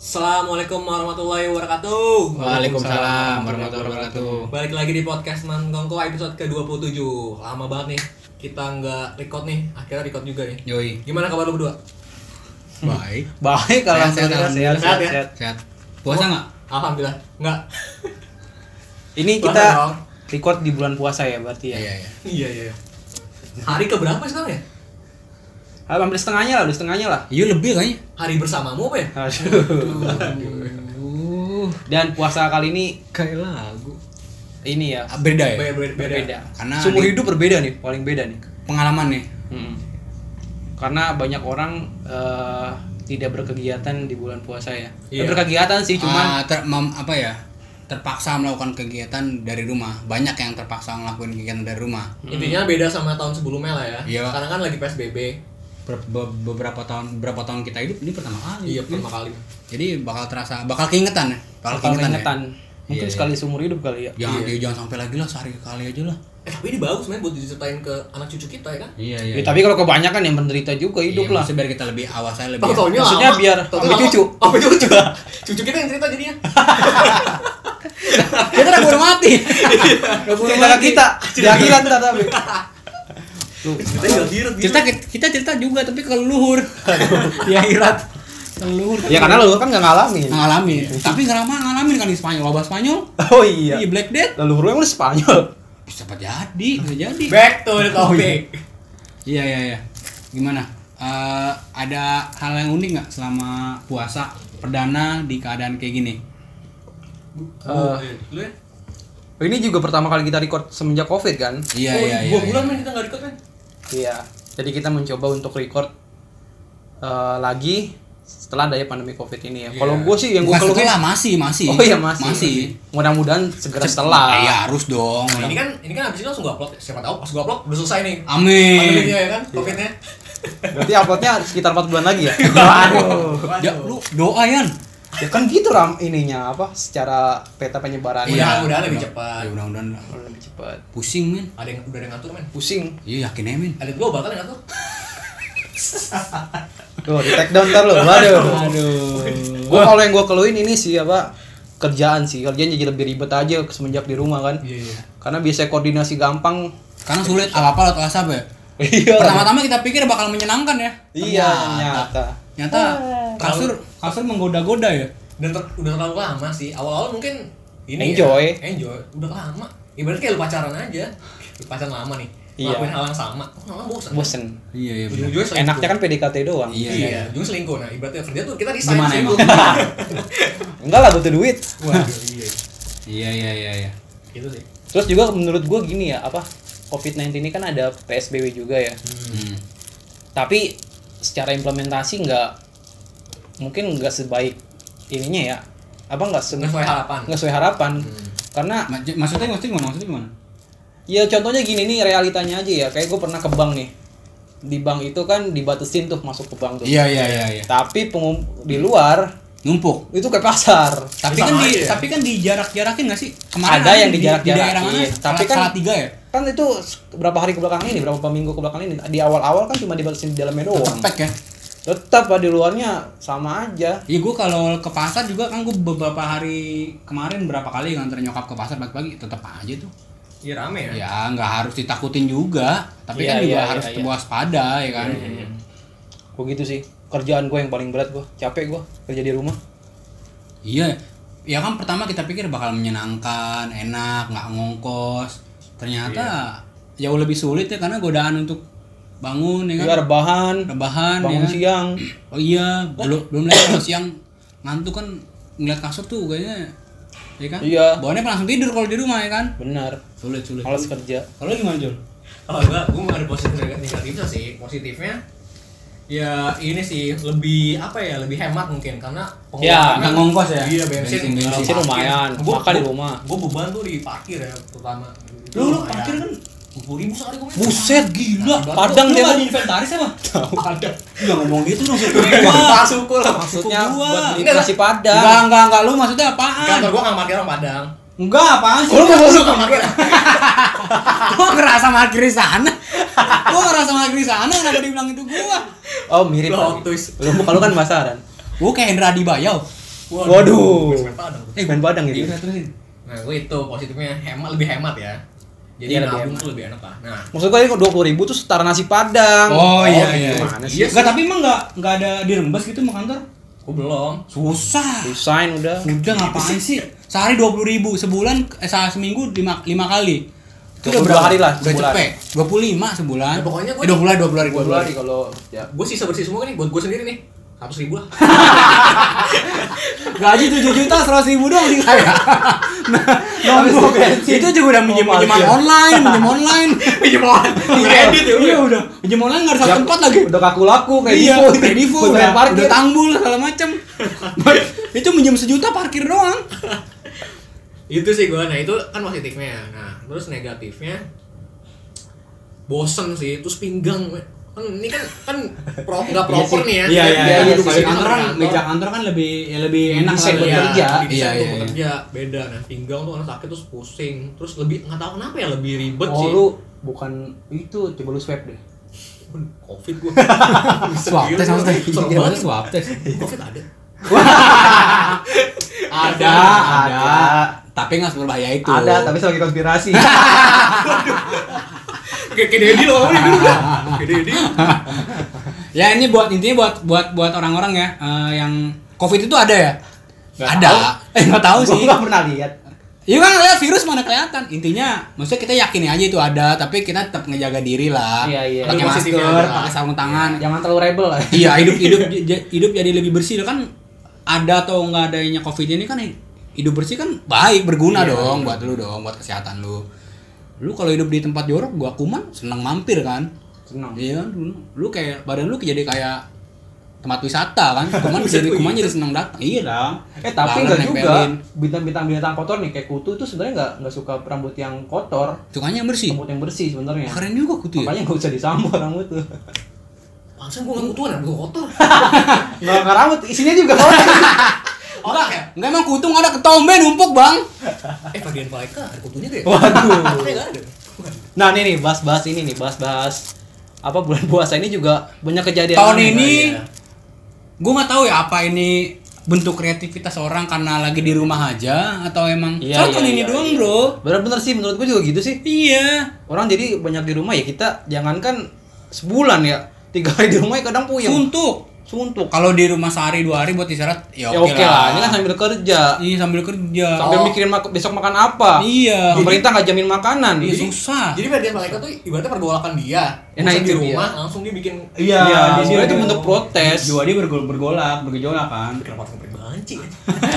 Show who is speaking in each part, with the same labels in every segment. Speaker 1: Assalamualaikum warahmatullahi wabarakatuh.
Speaker 2: Waalaikumsalam warahmatullahi wabarakatuh.
Speaker 1: Balik lagi di podcast Nongko episode ke-27. Lama banget nih kita nggak record nih. Akhirnya record juga nih.
Speaker 2: Yoi.
Speaker 1: Gimana kabar lu berdua?
Speaker 2: Baik.
Speaker 3: Baik kalau
Speaker 2: Sehat, sehat,
Speaker 1: sehat,
Speaker 3: alhamdulillah,
Speaker 1: sehat,
Speaker 3: sehat.
Speaker 2: Sehat. Puasa nggak?
Speaker 1: Oh, Alhamdulillah. Nggak.
Speaker 3: Ini
Speaker 1: Puasa
Speaker 3: kita
Speaker 1: dong.
Speaker 3: record di bulan puasa ya berarti ya.
Speaker 2: Iya, iya.
Speaker 1: Iya iya. Hari keberapa sekarang ya?
Speaker 3: Hampir setengahnya lah, udah setengahnya lah.
Speaker 2: Iya lebih kayaknya.
Speaker 1: Hari bersamamu apa ya?
Speaker 3: Aduh.
Speaker 2: Uh,
Speaker 3: Dan puasa kali ini
Speaker 2: kayak lagu.
Speaker 3: ini ya
Speaker 2: Beda ya.
Speaker 1: Beda, beda, beda.
Speaker 3: beda.
Speaker 2: Karena
Speaker 3: Seumur
Speaker 2: di-
Speaker 3: hidup berbeda nih, paling beda nih.
Speaker 2: Pengalaman ya? nih.
Speaker 3: Mm-mm. Karena banyak orang eh, tidak berkegiatan di bulan puasa ya.
Speaker 1: Iya.
Speaker 3: Berkegiatan sih cuman
Speaker 2: Ah, ter- mem- apa ya? Terpaksa melakukan kegiatan dari rumah. Banyak yang terpaksa ngelakuin kegiatan dari rumah.
Speaker 1: Intinya beda sama tahun sebelumnya lah ya.
Speaker 2: Hmm. Iya.
Speaker 1: Sekarang kan lagi PSBB.
Speaker 2: Ber- be- beberapa tahun beberapa tahun kita hidup ini pertama kali.
Speaker 1: Iya pertama kali.
Speaker 2: Jadi bakal terasa bakal keingetan ya. Bakal,
Speaker 3: bakal
Speaker 2: keingetan.
Speaker 3: keingetan. Mungkin
Speaker 2: Iya,
Speaker 3: sekali seumur hidup kali ya.
Speaker 2: Ya. Jangan jangan sampai lagi lah sehari kali aja lah.
Speaker 1: Eh tapi ini bagus men buat diceritain ke anak cucu kita ya kan?
Speaker 2: Iya,
Speaker 3: Ya, tapi kalau kebanyakan yang menderita juga hidup
Speaker 2: Iya,
Speaker 3: lah.
Speaker 2: maksudnya biar kita lebih awas aja lebih.
Speaker 1: Tau-taunya
Speaker 3: Iya. Maksudnya
Speaker 1: lama.
Speaker 3: biar
Speaker 1: Tau-tau
Speaker 3: ambil
Speaker 1: lama. Oh,
Speaker 3: cucu.
Speaker 1: Ambil cucu. cucu kita yang cerita jadinya.
Speaker 2: kita udah buru mati. Udah buru
Speaker 3: Iya. Cerita
Speaker 2: mati.
Speaker 3: kita, di akhirat ntar tapi. Tuh,
Speaker 1: Kita nggak giret gitu.
Speaker 2: Cerita kita cerita juga tapi ke leluhur. Di akhirat. Ke leluhur.
Speaker 3: Ya karena lu kan nggak ngalamin.
Speaker 2: ngalamin. Tapi nggak lama ngalamin kan di Spanyol, wabah Spanyol.
Speaker 3: Oh iya.
Speaker 2: Di Black Death.
Speaker 3: Leluhur emang lu Spanyol.
Speaker 2: Bisa apa jadi, bisa jadi.
Speaker 1: Back to
Speaker 3: Oh,
Speaker 1: the topic.
Speaker 2: Iya, iya, iya. Gimana? Eh, ada hal yang unik nggak selama puasa perdana di keadaan kayak gini?
Speaker 3: Eh,
Speaker 1: Lu ya?
Speaker 3: ini juga pertama kali kita record semenjak Covid kan?
Speaker 2: Iya,
Speaker 1: Oh,
Speaker 2: iya, iya.
Speaker 1: Dua
Speaker 2: iya.
Speaker 1: bulan men kita nggak record men.
Speaker 3: Iya. Jadi kita mencoba untuk record eh, lagi setelah daya pandemi Covid ini ya. Kalau gue sih yang gue
Speaker 2: Iya. Bukan
Speaker 3: keluhin
Speaker 2: setelah, masih, masih.
Speaker 3: Oh iya masih.
Speaker 2: Masih.
Speaker 3: Mudah-mudahan segera
Speaker 2: Ah,
Speaker 3: setelah.
Speaker 2: Iya, harus dong.
Speaker 1: Ini kan ini kan abis ini langsung gua upload. ya. Siapa tahu pas gua upload udah selesai nih.
Speaker 2: Amin.
Speaker 3: iya,
Speaker 1: Pandeminya ya kan? Covidnya.
Speaker 3: Berarti uploadnya sekitar 4 bulan lagi ya. iya.
Speaker 1: Waduh.
Speaker 2: Ya, lu doa Yan.
Speaker 3: ya kan gitu ram ininya apa secara peta penyebarannya
Speaker 1: Iya.
Speaker 2: udah
Speaker 1: mudah-mudahan lebih cepat.
Speaker 2: Ya, mudah-mudahan lah.
Speaker 3: Orang lebih cepat.
Speaker 2: Pusing, men.
Speaker 1: Ada yang udah ada yang ngatur men.
Speaker 3: Pusing.
Speaker 2: Iya, yakin ya, men.
Speaker 1: Ada gua bakal yang ngatur.
Speaker 3: Tuh, di take down ntar lu. Waduh.
Speaker 2: Aduh.
Speaker 3: Gua kalau yang gua keluhin ini sih apa kerjaan sih kerjaan jadi lebih ribet aja semenjak di rumah kan
Speaker 1: Iya iya.
Speaker 3: karena biasanya koordinasi gampang
Speaker 2: Karena sulit apa-apa atau asap ya.
Speaker 3: iya
Speaker 2: Pertama-tama kita pikir bakal menyenangkan ya.
Speaker 3: iya
Speaker 2: Ternyata-
Speaker 3: nyata
Speaker 2: Nyata kasur kasur menggoda-goda ya.
Speaker 1: Dan ter- udah terlalu lama sih. Awal-awal mungkin ini
Speaker 3: Enjoy.
Speaker 1: Ya. Enjoy. Udah lama. Ibarat kayak lu pacaran aja. Lu pacaran lama nih.
Speaker 3: Iya.
Speaker 1: Ngelakuin hal yang sama. Kok lama bosan?
Speaker 3: bosen
Speaker 2: Iya iya. bener.
Speaker 1: Ujung-ujungnya selingkuh.
Speaker 3: enaknya kan PDKT doang
Speaker 2: Iya.
Speaker 1: gitu. Iya, ujung selingkuh. Nah, ibaratnya kerja tuh kita resign
Speaker 2: Gimana
Speaker 1: selingkuh.
Speaker 2: emang?
Speaker 3: enggak lah butuh duit
Speaker 1: Waduh, iya.
Speaker 2: Iya iya iya iya.
Speaker 1: Gitu sih.
Speaker 3: terus juga menurut gua gini ya apa COVID-19 ini kan ada PSBB juga ya
Speaker 2: Hmm.
Speaker 3: tapi secara implementasi nggak mungkin nggak sebaik ininya ya apa nggak se-
Speaker 1: Sesuai harapan. Hmm.
Speaker 3: nggak sesuai harapan karena
Speaker 2: Ma- j- Maksudnya maksudnya gimana? Maksudnya gimana?
Speaker 3: Ya contohnya gini nih realitanya aja ya. Kayak gue pernah ke bank nih. Di bank itu kan dibatasin tuh masuk ke bank tuh.
Speaker 2: Iya iya iya iya.
Speaker 3: Tapi pengum- di luar
Speaker 2: Numpuk.
Speaker 3: itu kayak pasar.
Speaker 2: Tapi
Speaker 1: Sama
Speaker 2: kan di
Speaker 1: aja ya.
Speaker 2: tapi kan dijarak-jarakin nggak sih? Kemarin kan
Speaker 3: Ada yang
Speaker 2: di-
Speaker 3: dijarak-jarakin.
Speaker 2: Di daerah mana?
Speaker 3: Tapi
Speaker 2: Tapi
Speaker 3: kan-
Speaker 2: kan tiga ya.
Speaker 3: Kan itu s- berapa hari ke belakang ini, berapa minggu ke belakang ini. Di awal-awal kan cuma dibatasin di dalamnya doang.
Speaker 2: Cepet ya.
Speaker 3: Tetap lah di luarnya sama aja.
Speaker 2: Iya gue kalau ke pasar juga kan gue beberapa hari kemarin berapa kali nganter nyokap ke pasar pagi-pagi tetap aja tuh.
Speaker 1: Iya rame ya.
Speaker 2: Ya nggak harus ditakutin juga, tapi
Speaker 3: Iya,
Speaker 2: kan juga
Speaker 3: iya,
Speaker 2: harus
Speaker 3: iya,
Speaker 2: tetap
Speaker 3: iya.
Speaker 2: waspada ya kan.
Speaker 3: Gue gitu sih. Kerjaan gue yang paling berat gue. Capek gue kerja di rumah.
Speaker 2: Iya, ya kan pertama kita pikir bakal menyenangkan, enak, nggak ngongkos. Ternyata
Speaker 3: Iya.
Speaker 2: jauh lebih sulit ya karena godaan untuk bangun ya kan.
Speaker 3: Juga rebahan,
Speaker 2: Rebahan ya
Speaker 3: Iya. bangun
Speaker 2: kan?
Speaker 3: siang.
Speaker 2: Oh iya, belum belum lagi kalau siang ngantuk kan ngeliat kasur tuh kayaknya ya kan?
Speaker 3: Iya.
Speaker 2: Bawaannya langsung tidur kalau di rumah ya kan.
Speaker 3: Benar.
Speaker 2: Sulit sulit.
Speaker 3: Males kerja.
Speaker 2: Kalau gimana Jul?
Speaker 1: Kalau gua, gua mau ada positif dan negatifnya sih. Positifnya ya ini sih lebih apa ya lebih hemat mungkin karena
Speaker 3: Ya,
Speaker 2: nggak ngongkos Iya, ya?
Speaker 1: iya bensin
Speaker 2: Bensin, bensin.
Speaker 3: Bensin lumayan, makan di rumah.
Speaker 1: gue beban tuh di parkir ya pertama
Speaker 2: Lu- lu parkir kan?
Speaker 1: sepuluh ribu sehari gue
Speaker 2: Buset gila,
Speaker 1: Nah,
Speaker 3: Padang dia
Speaker 2: dia
Speaker 3: kan.
Speaker 2: inventaris apa?
Speaker 1: ada
Speaker 2: Enggak ngomong gitu dong.
Speaker 1: pasukul
Speaker 3: Maksudnya
Speaker 2: Gua.
Speaker 3: buat beli
Speaker 1: Enggak,
Speaker 3: nasi
Speaker 2: Enggak,
Speaker 3: padang.
Speaker 2: enggak, enggak. Lu maksudnya apaan?
Speaker 1: kantor gue nggak parkir orang Padang
Speaker 2: Enggak, apaan sih?
Speaker 3: Lu mau masuk
Speaker 1: nggak parkir
Speaker 2: Oh, gua ngerasa mager di sana. gua ngerasa mager di sana kenapa dibilang itu gua?
Speaker 3: Oh mirip.
Speaker 1: Plot
Speaker 3: tapi.
Speaker 1: twist.
Speaker 3: Lu kalau kan pasaran.
Speaker 2: Gua kayak Hendra Dibayau.
Speaker 3: Waduh.
Speaker 1: Gue main padang.
Speaker 3: Eh, main padang
Speaker 2: Iya,
Speaker 3: gitu.
Speaker 2: udah terusin.
Speaker 1: Nah, gue itu positifnya hemat lebih hemat ya. Jadi
Speaker 3: Iya, lebih
Speaker 1: nabung
Speaker 3: hemat.
Speaker 1: tuh lebih enak lah. Nah,
Speaker 3: Maksud gue ini kok 20 ribu tuh setara nasi padang.
Speaker 2: Oh, iya iya.
Speaker 3: Gimana sih?
Speaker 1: Iya
Speaker 2: Enggak, tapi emang enggak enggak ada dirembes gitu sama kantor?
Speaker 1: gue belum.
Speaker 2: Susah.
Speaker 3: Resign udah.
Speaker 1: Iya,
Speaker 2: Udah ngapain sih? Sehari 20 ribu, sebulan eh, se- seminggu 5 lima kali. Itu udah
Speaker 3: 22
Speaker 2: berapa
Speaker 3: hari lah,
Speaker 2: Udah
Speaker 3: sebulan.
Speaker 2: cepet. 25 sebulan.
Speaker 1: Ya, pokoknya gua-
Speaker 2: eh, 20 hari, 20 hari,
Speaker 3: 20 hari
Speaker 2: 20 hari.
Speaker 3: kalau ya.
Speaker 1: Gue sisa bersih semua nih buat gue sendiri nih. 100 ribu lah.
Speaker 2: Gaji 7 juta 100 ribu doang sih saya. Nah, nombok
Speaker 3: bensin.
Speaker 2: itu juga udah minjem
Speaker 3: Oh,
Speaker 2: minjeman
Speaker 3: parkir.
Speaker 2: online, minjem online.
Speaker 1: Pinjam orang. Kredit ya
Speaker 2: Iya
Speaker 1: udah.
Speaker 2: udah, minjem online enggak ada satu tempat lagi.
Speaker 3: Udah kaku laku kayak
Speaker 2: iya,
Speaker 3: gitu.
Speaker 2: kredivo,
Speaker 3: Buat
Speaker 2: udah,
Speaker 3: bayar parkir.
Speaker 2: udah tanggul segala macem itu minjem sejuta parkir doang
Speaker 1: Itu sih gue. Nah, itu kan positifnya. Nah, terus negatifnya bosen sih, terus pinggang we. kan ini kan kan pro, nggak proper nih ya
Speaker 2: iya iya
Speaker 1: Kita
Speaker 2: iya,
Speaker 1: duduk di
Speaker 2: Kalau di
Speaker 1: sini
Speaker 2: kantor
Speaker 1: sama
Speaker 2: kan meja kantor kan lebih ya lebih enak
Speaker 3: Iya. Bisa buat
Speaker 2: Iya.
Speaker 3: kerja.
Speaker 2: iya
Speaker 1: iya,
Speaker 2: iya, iya.
Speaker 1: bekerja beda nah pinggang tuh orang sakit terus pusing terus lebih nggak tahu kenapa ya lebih ribet
Speaker 3: Oh
Speaker 1: sih
Speaker 3: lu bukan itu coba lu swab deh.
Speaker 1: covid gua
Speaker 2: swab
Speaker 1: Serius,
Speaker 2: test maksudnya
Speaker 1: serem
Speaker 2: Iya,
Speaker 1: banget.
Speaker 2: maksudnya swab test
Speaker 1: covid ada
Speaker 2: ada ada
Speaker 3: Ada.
Speaker 2: tapi nggak seberbahaya itu
Speaker 3: Ada tapi sebagai konspirasi.
Speaker 1: kayak kayak Dedi lo ngomongnya dulu dah. kayak Dedi
Speaker 2: ya ini buat intinya buat buat buat orang-orang ya eh, yang covid itu ada ya
Speaker 3: Nggak
Speaker 2: ada eh nggak tahu
Speaker 3: Gua
Speaker 2: sih
Speaker 3: nggak pernah lihat.
Speaker 2: Iya kan lihat virus mana kelihatan. Intinya, maksudnya kita yakini aja itu ada, tapi kita tetap ngejaga diri lah.
Speaker 3: Iya, iya.
Speaker 2: Pakai
Speaker 1: Ambil positifnya
Speaker 2: masker,
Speaker 1: aja.
Speaker 2: pakai sarung tangan.
Speaker 3: Jangan terlalu rebel lah.
Speaker 2: Iya, hidup hidup j- hidup jadi lebih bersih kan ada atau nggak adanya covid ini kan hidup bersih kan baik berguna
Speaker 3: Iya,
Speaker 2: dong buat lu dong buat kesehatan lu. Lu kalau hidup di tempat jorok gua kuman seneng mampir kan.
Speaker 3: Senang.
Speaker 2: Iya kan lu, lu kayak badan lu jadi kayak tempat wisata kan. Kuman jadi kuman jadi seneng datang. Iya dong.
Speaker 3: Eh tapi
Speaker 2: Tangan
Speaker 3: enggak juga
Speaker 2: nempelin.
Speaker 3: bintang-bintang bintang kotor nih kayak kutu itu sebenarnya enggak enggak suka rambut yang kotor,
Speaker 2: Sukanya yang bersih.
Speaker 3: rambut yang bersih sebenarnya.
Speaker 2: Wah, Keren juga kutu ya.
Speaker 3: Makanya enggak usah disambung rambut tuh.
Speaker 1: langsung gua ngaku tuh anak gua kotor
Speaker 3: Enggak enggak rambut, isinya juga kotor.
Speaker 1: otak ya
Speaker 2: Enggak emang kutu nggak ada ketombe numpuk bang.
Speaker 1: eh bagian paleka ada kutunya deh
Speaker 3: Waduh.
Speaker 1: kayak nggak ada
Speaker 3: Nah, ini nih bahas-bahas ini nih, bahas-bahas apa bulan puasa ini juga banyak kejadian
Speaker 2: Tahun
Speaker 3: aneh. ya.
Speaker 2: ini
Speaker 1: iya.
Speaker 2: gue nggak tahu ya apa ini bentuk kreativitas orang karena lagi di rumah aja atau emang
Speaker 3: Iya,
Speaker 2: soal tahun
Speaker 3: iya,
Speaker 2: ini
Speaker 3: iya,
Speaker 2: doang
Speaker 3: iya.
Speaker 2: bro.
Speaker 3: Bener-bener sih menurut gue juga gitu sih.
Speaker 2: Iya.
Speaker 3: Orang jadi banyak di rumah ya kita jangankan sebulan ya, tiga hari di rumah ya kadang puyeng.
Speaker 2: Suntuk.
Speaker 3: Suntuk.
Speaker 2: Kalau di rumah sehari dua hari buat istirahat ya
Speaker 3: Ya
Speaker 2: oke
Speaker 3: oke
Speaker 2: lah.
Speaker 3: lah, ini kan sambil kerja.
Speaker 2: Iya sambil kerja.
Speaker 3: Sambil
Speaker 1: Oh.
Speaker 3: mikirin mak- besok makan apa.
Speaker 2: Iya.
Speaker 3: Pemerintah nggak jamin makanan.
Speaker 2: Iya
Speaker 3: Jadi-
Speaker 2: susah.
Speaker 1: jadi bagian paleka tuh ibaratnya pergolakan dia
Speaker 3: Ya, nah,
Speaker 1: Bosan
Speaker 3: itu
Speaker 1: di
Speaker 3: dia.
Speaker 1: rumah langsung dia bikin
Speaker 3: Iya, di sini itu bentuk protes.
Speaker 2: Dua dia bergol bergolak bergejolak kan.
Speaker 1: bikin apa sampai banci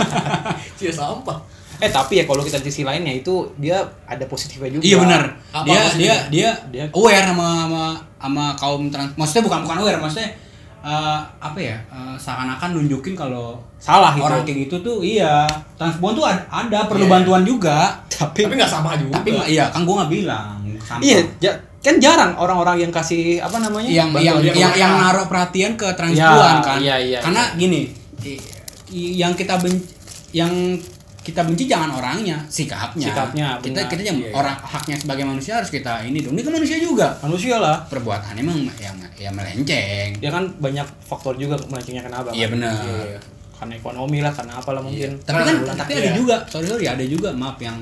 Speaker 1: cia sampah
Speaker 3: Eh tapi ya kalau kita di sisi lainnya itu dia ada positifnya juga.
Speaker 2: Iya benar.
Speaker 1: Apa
Speaker 2: Dia dia
Speaker 1: maksudnya?
Speaker 2: dia
Speaker 3: Dia-
Speaker 2: aware sama sama sama kaum trans. Maksudnya bukan bukan aware, maksudnya eh, apa ya? eh, seakan-akan nunjukin kalau
Speaker 3: Salah gitu.
Speaker 2: orang kayak gitu tuh iya. Transpuan tuh ada, ada, perlu
Speaker 1: Iya.
Speaker 2: bantuan juga.
Speaker 3: Tapi
Speaker 1: tapi nggak sama juga
Speaker 2: Tapi ma- iya, kan gua nggak bilang. Sampah.
Speaker 3: iya ja- kan jarang orang-orang yang kasih apa namanya?
Speaker 2: yang yang
Speaker 3: bantuan
Speaker 1: dia
Speaker 2: yang,
Speaker 1: kemana?
Speaker 2: yang naruh perhatian ke transpuan
Speaker 3: Ya,
Speaker 2: kan.
Speaker 3: iya, iya,
Speaker 2: Karena gini, i- i- yang kita benci yang kita benci jangan orangnya, sikapnya.
Speaker 3: Sikapnya,
Speaker 2: Kita
Speaker 3: benar.
Speaker 2: kita jangan
Speaker 1: Iya, iya.
Speaker 2: orang haknya sebagai manusia harus kita ini dong. Ini kan manusia juga.
Speaker 3: manusia lah.
Speaker 2: perbuatan emang ya, ya melenceng.
Speaker 3: Ya kan banyak faktor juga melencengnya kenapa?
Speaker 2: Iya
Speaker 3: kan?
Speaker 2: benar.
Speaker 1: Iya, iya.
Speaker 3: Karena ekonomi lah, karena apalah mungkin.
Speaker 2: Tapi kan
Speaker 1: Nah,
Speaker 2: tapi
Speaker 1: iya.
Speaker 2: ada juga, sorry sorry ada juga maaf yang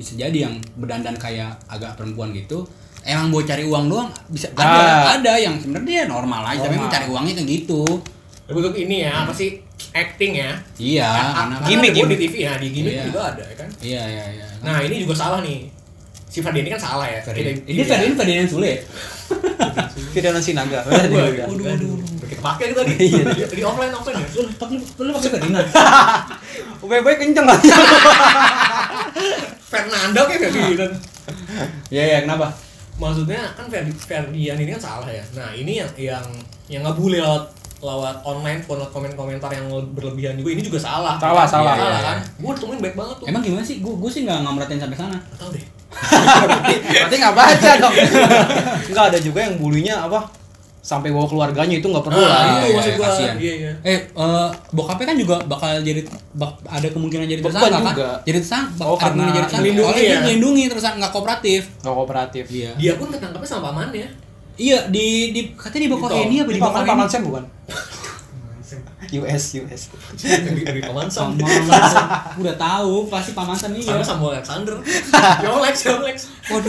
Speaker 2: bisa jadi yang berdandan kayak agak perempuan gitu. Emang mau cari uang doang bisa
Speaker 3: Nah.
Speaker 2: ada ada yang sebenarnya dia normal aja tapi
Speaker 3: Normal.
Speaker 2: mau cari uangnya kayak gitu.
Speaker 1: Bentuk ini ya apa sih acting ya
Speaker 2: Iya, karena
Speaker 1: Karena
Speaker 2: kan-
Speaker 3: Gimik,
Speaker 1: ada gua di
Speaker 3: gimik.
Speaker 1: TV ya di gimmick
Speaker 2: Iya.
Speaker 1: juga ada ya kan
Speaker 2: Iya iya iya.
Speaker 1: nah ini juga salah nih si Fadli ini kan salah ya
Speaker 2: Ferdinand-
Speaker 1: ini
Speaker 2: ini Ferdinand Ferdinand Sule.
Speaker 3: Ferdinand Sinaga.
Speaker 1: Waduh,
Speaker 3: Waduh.
Speaker 1: waduh, waduh. Kita pakai kita tadi.
Speaker 2: Iya,
Speaker 1: Di offline offline ya.
Speaker 2: Lu lu lu maksudnya Ferdinand.
Speaker 3: Baik-baik kenceng lah.
Speaker 1: Fernando kayak
Speaker 2: Ah.
Speaker 1: Ferdinand.
Speaker 3: Iya iya kenapa?
Speaker 1: Maksudnya kan Ferdi Ferdian ini kan salah ya. Nah, ini yang yang yang ngebully lewat lewat online pun lewat komen-komentar yang berlebihan juga ini juga salah.
Speaker 3: Salah, salah.
Speaker 1: Salah
Speaker 2: Iya,
Speaker 1: kan? Gua temuin baik banget tuh.
Speaker 2: Emang gimana sih? Gue gue sih nggak nggak merhatiin sampai sana.
Speaker 1: Nggak tahu deh.
Speaker 3: Berarti nggak baca dong. Enggak ada juga yang bulinya apa? Sampai bawa keluarganya itu nggak perlu lah.
Speaker 2: Ah,
Speaker 1: Nah, itu
Speaker 2: iya,
Speaker 1: maksud
Speaker 2: iya,
Speaker 1: gua.
Speaker 2: kasihan.
Speaker 1: Iya, iya.
Speaker 2: Eh, eh, bokapnya kan juga bakal jadi bak- ada kemungkinan jadi
Speaker 3: Beban
Speaker 2: tersangka kan?
Speaker 3: juga.
Speaker 2: Jadi tersangka, ada
Speaker 3: Oh, karena
Speaker 2: kemungkinan jadi tersangka.
Speaker 1: melindungi
Speaker 2: Soalnya dia
Speaker 1: ya?
Speaker 2: melindungi terus nggak kooperatif.
Speaker 3: Nggak kooperatif.
Speaker 2: Iya.
Speaker 1: Dia pun ketangkapnya sama ya. pamannya.
Speaker 2: Iya, di di katanya di
Speaker 1: Di tol.
Speaker 2: Bokoheni apa
Speaker 3: Ini
Speaker 2: di
Speaker 3: paman paman
Speaker 2: Bokoheni?
Speaker 3: Sam bukan? US US
Speaker 1: Dari Pamansan.
Speaker 2: Sama Manson. udah tahu pasti pamansan iya.
Speaker 1: Sama Samuel Alexander. Yo Lex, yo Lex.
Speaker 2: Waduh.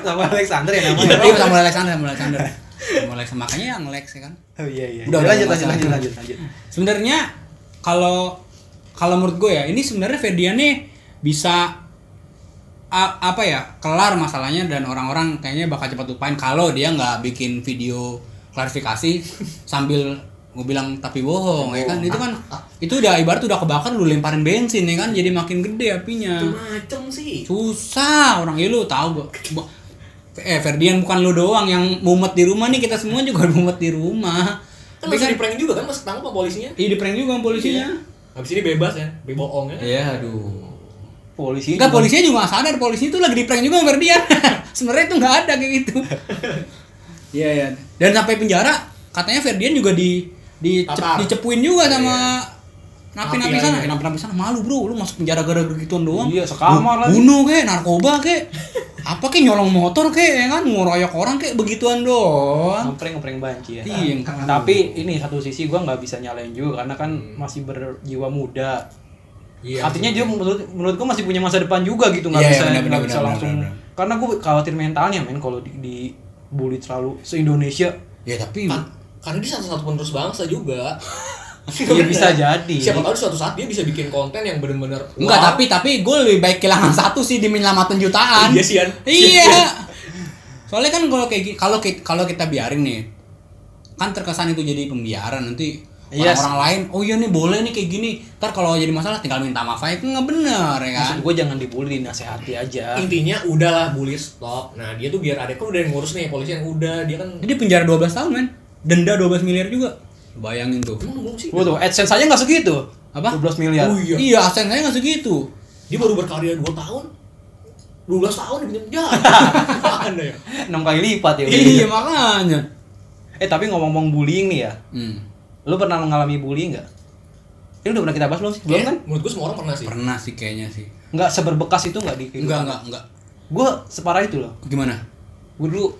Speaker 3: sama Alexander ya
Speaker 2: Iya,
Speaker 3: namanya
Speaker 2: iya, sama Alexander, sama Alexander. Sama Alexander makanya yang Lex ya kan.
Speaker 3: oh iya iya
Speaker 2: Udah,
Speaker 3: udah
Speaker 2: udah,
Speaker 3: lanjut lanjut
Speaker 2: masalah.
Speaker 3: lanjut lanjut lanjut
Speaker 2: Sebenarnya kalau kalau menurut gue ya, ini sebenarnya Ferdian nih bisa a- apa ya kelar masalahnya dan orang-orang kayaknya bakal cepat lupain kalau dia nggak bikin video klarifikasi sambil gue bilang tapi bohong ya kan itu kan itu udah ibarat udah kebakar lu lemparin bensin ya kan jadi makin gede apinya
Speaker 1: Itu macem sih.
Speaker 2: susah orang ya lu tahu gua- gua- eh Ferdian bukan lu doang yang mumet di rumah nih kita semua juga mumet di rumah
Speaker 1: Kan
Speaker 2: tapi
Speaker 1: masih
Speaker 2: kan
Speaker 1: di prank juga kan masih ketangkep sama polisinya.
Speaker 2: ih, di prank juga sama polisinya
Speaker 1: Habis ini bebas ya, bohong ya.
Speaker 2: iya aduh
Speaker 3: polisi
Speaker 2: Enggak
Speaker 3: juga-
Speaker 2: polisinya juga nggak sadar polisinya itu lagi di prank juga sama Ferdian sebenarnya itu nggak ada kayak gitu iya iya dan sampai penjara katanya Ferdian juga di di
Speaker 1: Tatar.
Speaker 2: dicepuin juga sama napi-napi
Speaker 1: Napi
Speaker 2: sana
Speaker 1: aja.
Speaker 2: eh, napi-napi sana malu bro lu masuk penjara gara-gara gituan doang
Speaker 3: Iya, sekamar
Speaker 2: Bu-
Speaker 3: lagi.
Speaker 2: bunuh kek narkoba kek apa kek nyolong motor kek ya kan ngeroyok orang kek begituan doang
Speaker 3: ngeprank ngeprank banci ya
Speaker 2: Iya, ngeprank.
Speaker 3: tapi ini satu sisi gua nggak bisa nyalain juga karena kan
Speaker 2: Hmm.
Speaker 3: masih berjiwa muda artinya dia menurut menurut gua masih punya masa depan juga gitu nggak
Speaker 2: Iya, iya,
Speaker 3: bisa
Speaker 2: benar,
Speaker 3: nggak
Speaker 2: benar,
Speaker 3: bisa
Speaker 2: benar,
Speaker 3: langsung
Speaker 2: benar,
Speaker 3: karena gua khawatir mentalnya men kalau di, di bully terlalu se Indonesia
Speaker 2: ya tapi
Speaker 1: Kan- karena dia satu-satu penerus bangsa juga.
Speaker 3: Iya, bisa jadi.
Speaker 1: Siapa tahu suatu saat dia bisa bikin konten yang benar-benar
Speaker 2: enggak
Speaker 1: wow.
Speaker 2: tapi tapi gue lebih baik kehilangan satu sih demi nyelamatin jutaan
Speaker 1: Iya, Sian.
Speaker 2: iya soalnya kan kalau kayak gi- kalau ki- kalau kita biarin nih kan terkesan itu jadi pembiaran nanti
Speaker 3: Yes.
Speaker 2: orang-orang lain oh iya nih boleh nih kayak gini ntar kalau jadi masalah tinggal minta maaf aja itu nggak bener ya kan
Speaker 3: maksud gua jangan dibully nasihati aja
Speaker 1: intinya udahlah bully stop. Nah, dia tuh biar ada kan udah yang ngurus nih polisi yang udah dia kan
Speaker 2: jadi penjara 12 tahun men denda 12 miliar juga bayangin tuh
Speaker 1: emang belum sih.
Speaker 3: Gua tuh AdSense aja nggak segitu
Speaker 2: Apa?
Speaker 3: 12 miliar
Speaker 1: Oh iya.
Speaker 2: iya asen saya nggak segitu
Speaker 1: Dia baru berkarya 2 tahun. 12 tahun di penjara. Anda ya.
Speaker 3: 6 kali lipat ya
Speaker 2: iya makanya
Speaker 3: eh tapi ngomong-ngomong bullying nih ya
Speaker 2: hmm,
Speaker 3: lu pernah mengalami bullying nggak ini udah pernah kita bahas belum sih belum kan
Speaker 1: Menurut gue semua orang pernah sih.
Speaker 2: pernah sih kayaknya sih
Speaker 3: nggak seberbekas itu nggak di
Speaker 2: enggak enggak enggak
Speaker 3: gue separah itu loh
Speaker 2: gimana
Speaker 3: gue dulu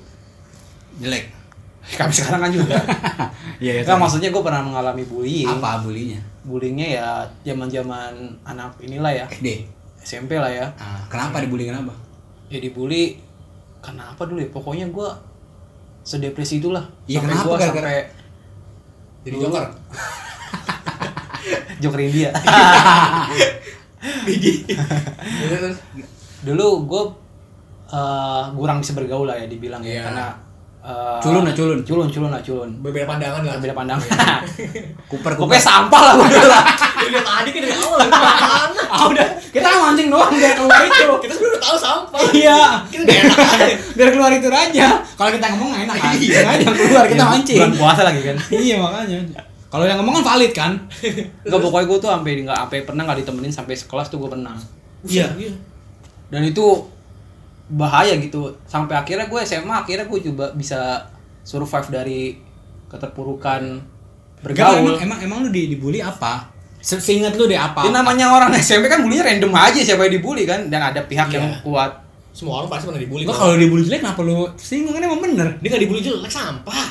Speaker 2: jelek
Speaker 3: kami sekarang kan juga
Speaker 2: iya
Speaker 3: nggak maksudnya gue pernah mengalami bullying
Speaker 2: apa bulinya
Speaker 3: bullyingnya ya zaman zaman anak inilah ya
Speaker 2: SD
Speaker 3: SMP lah ya
Speaker 2: Eh, Ah, kenapa dibully kenapa
Speaker 3: ya dibully kenapa dulu ya pokoknya gue sedepresi itulah
Speaker 2: Iya,
Speaker 3: sampai
Speaker 2: kenapa
Speaker 3: gue
Speaker 2: gara-gara-
Speaker 3: sampai
Speaker 1: Jadi joker.
Speaker 3: jokerin dia
Speaker 1: Biji. Terus, Iya, terus.
Speaker 3: dulu gue eh kurang bisa bergaul lah ya dibilang ya
Speaker 1: Iya.
Speaker 3: karena eh,
Speaker 2: Culun lah, culun. Iya.
Speaker 3: culun culun lah culun
Speaker 1: Berbeda pandangan lah.
Speaker 3: berbeda pandangan
Speaker 2: Kuper
Speaker 3: pokoknya sampah lah gue lah
Speaker 1: Udah tadi kan dari awal dari mana?
Speaker 2: Ah udah, kita kan mancing doang gak keluar itu.
Speaker 1: Kita sebenarnya udah tahu sampah.
Speaker 2: Iya.
Speaker 1: Kita udah enak aja.
Speaker 2: Biar keluar itu aja. Kalau kita ngomong nggak enak kan. Iya, yang keluar kita mancing.
Speaker 3: bulan puasa lagi kan
Speaker 2: Iya makanya. Kalau yang ngomong kan valid kan?
Speaker 3: Enggak pokoknya gue tuh sampai nggak sampai pernah nggak ditemenin sampai sekelas tuh gue pernah.
Speaker 1: Iya.
Speaker 3: Dan itu bahaya gitu. Sampai akhirnya gue SMA akhirnya gue coba bisa survive dari keterpurukan
Speaker 2: Emang,
Speaker 3: bergaul.
Speaker 2: emang emang lu di, dibully apa? Se- Seingat lu deh apa?
Speaker 3: Ini namanya orang SMP kan bulinya random aja siapa yang dibully kan dan ada pihak yang
Speaker 1: Iya.
Speaker 3: kuat.
Speaker 1: Semua orang pasti pernah dibully.
Speaker 2: Lo kalau dibully jelek kenapa lu singgung kan emang bener?
Speaker 1: dia nggak dibully jelek sampah.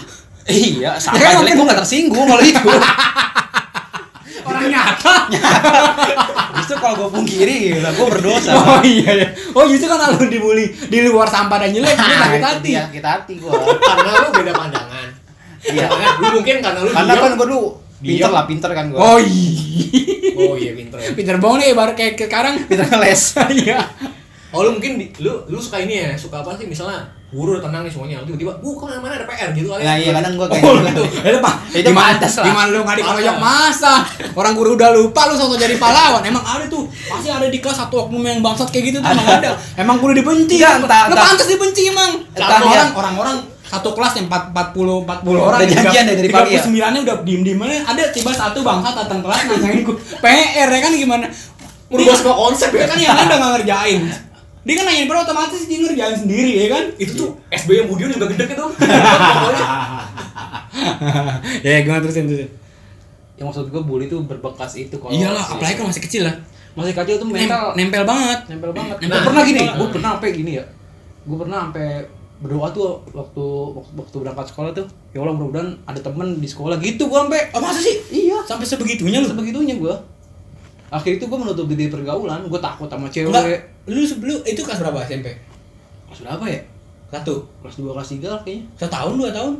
Speaker 3: Iya, sama
Speaker 2: Ya kan,
Speaker 3: jelek gue gak tersinggung kalau itu.
Speaker 2: Orang nyata.
Speaker 3: Justru kalau gue pungkiri, gue berdosa.
Speaker 2: Oh iya iya. Oh justru kan kalau dibully di luar sampah dan jelek dia
Speaker 3: Nah,
Speaker 2: sakit
Speaker 3: itu
Speaker 2: hati.
Speaker 3: dia, kita hati gue.
Speaker 1: Karena lu beda pandangan.
Speaker 3: Iya.
Speaker 1: Karena lu mungkin karena lu
Speaker 3: Karena
Speaker 1: diam.
Speaker 3: kan gue dulu pinter
Speaker 1: Diam.
Speaker 3: lah, pinter kan gue.
Speaker 2: Oh iya.
Speaker 1: Oh iya pinter. ya.
Speaker 2: Peter bohong nih baru kayak sekarang.
Speaker 3: Pinter ngeles.
Speaker 2: Iya.
Speaker 1: Oh lu mungkin di- lu lu suka ini ya, suka apa sih misalnya guru udah tenang nih semuanya, lalu tiba-tiba, bu kemana mana ada PR gitu kali.
Speaker 3: Nah iya kadang gue kayak
Speaker 2: Oh,
Speaker 3: gitu.
Speaker 2: lu- itu pak,
Speaker 3: Itu
Speaker 2: gimana,
Speaker 3: pantas lah.
Speaker 2: gimana lu nggak dikeroyok masa? Orang guru udah lupa lu satu jadi pahlawan. Emang ada tuh, pasti ada di kelas satu oknum yang bangsat kayak gitu tuh emang ada. Emang guru dibenci.
Speaker 3: Enggak, entah,
Speaker 2: Nggak
Speaker 3: entah.
Speaker 2: pantas dibenci emang.
Speaker 3: Entah,
Speaker 2: Satu
Speaker 3: ya.
Speaker 2: orang orang-orang satu kelas yang 40 40 orang
Speaker 3: Udah janjian deh dari pagi ya.
Speaker 2: 39 nya udah diem-diem aja. Ada tiba satu bangsat datang kelas nanyain gua PR ya kan gimana?
Speaker 3: Iya.
Speaker 1: Merubah semua konsep ya
Speaker 2: Dia kan yang lain udah nggak ngerjain. Dia kan nanyain bro otomatis dia ngerjain sendiri ya kan?
Speaker 1: Itu tuh SBY yang Budion juga gede kan tuh. Pokoknya.
Speaker 2: ya gimana terusin terusin
Speaker 3: yang maksud gue bully tuh berbekas itu kalau
Speaker 2: iyalah
Speaker 3: si-
Speaker 2: apalagi kalau masih kecil lah
Speaker 3: masih kacau tuh
Speaker 2: Nem-
Speaker 3: mental
Speaker 2: nempel banget
Speaker 3: nempel banget
Speaker 1: Nempel
Speaker 3: gue pernah gini
Speaker 1: banget.
Speaker 3: gue pernah sampai gini ya gue pernah sampai berdoa tuh waktu waktu, waktu berangkat sekolah tuh ya Allah mudah-mudahan ada temen di sekolah gitu gua sampai
Speaker 2: Oh masa sih?
Speaker 3: iya
Speaker 2: Sampai sebegitunya lu?
Speaker 3: sebegitunya gua akhir itu gua menutup diri pergaulan gua takut sama cewek
Speaker 2: Enggak. Lu sebelum itu kelas berapa SMP?
Speaker 3: kelas berapa ya
Speaker 2: Satu.
Speaker 3: kelas 2 kelas 3 lah kayaknya
Speaker 2: Setahun dua tahun?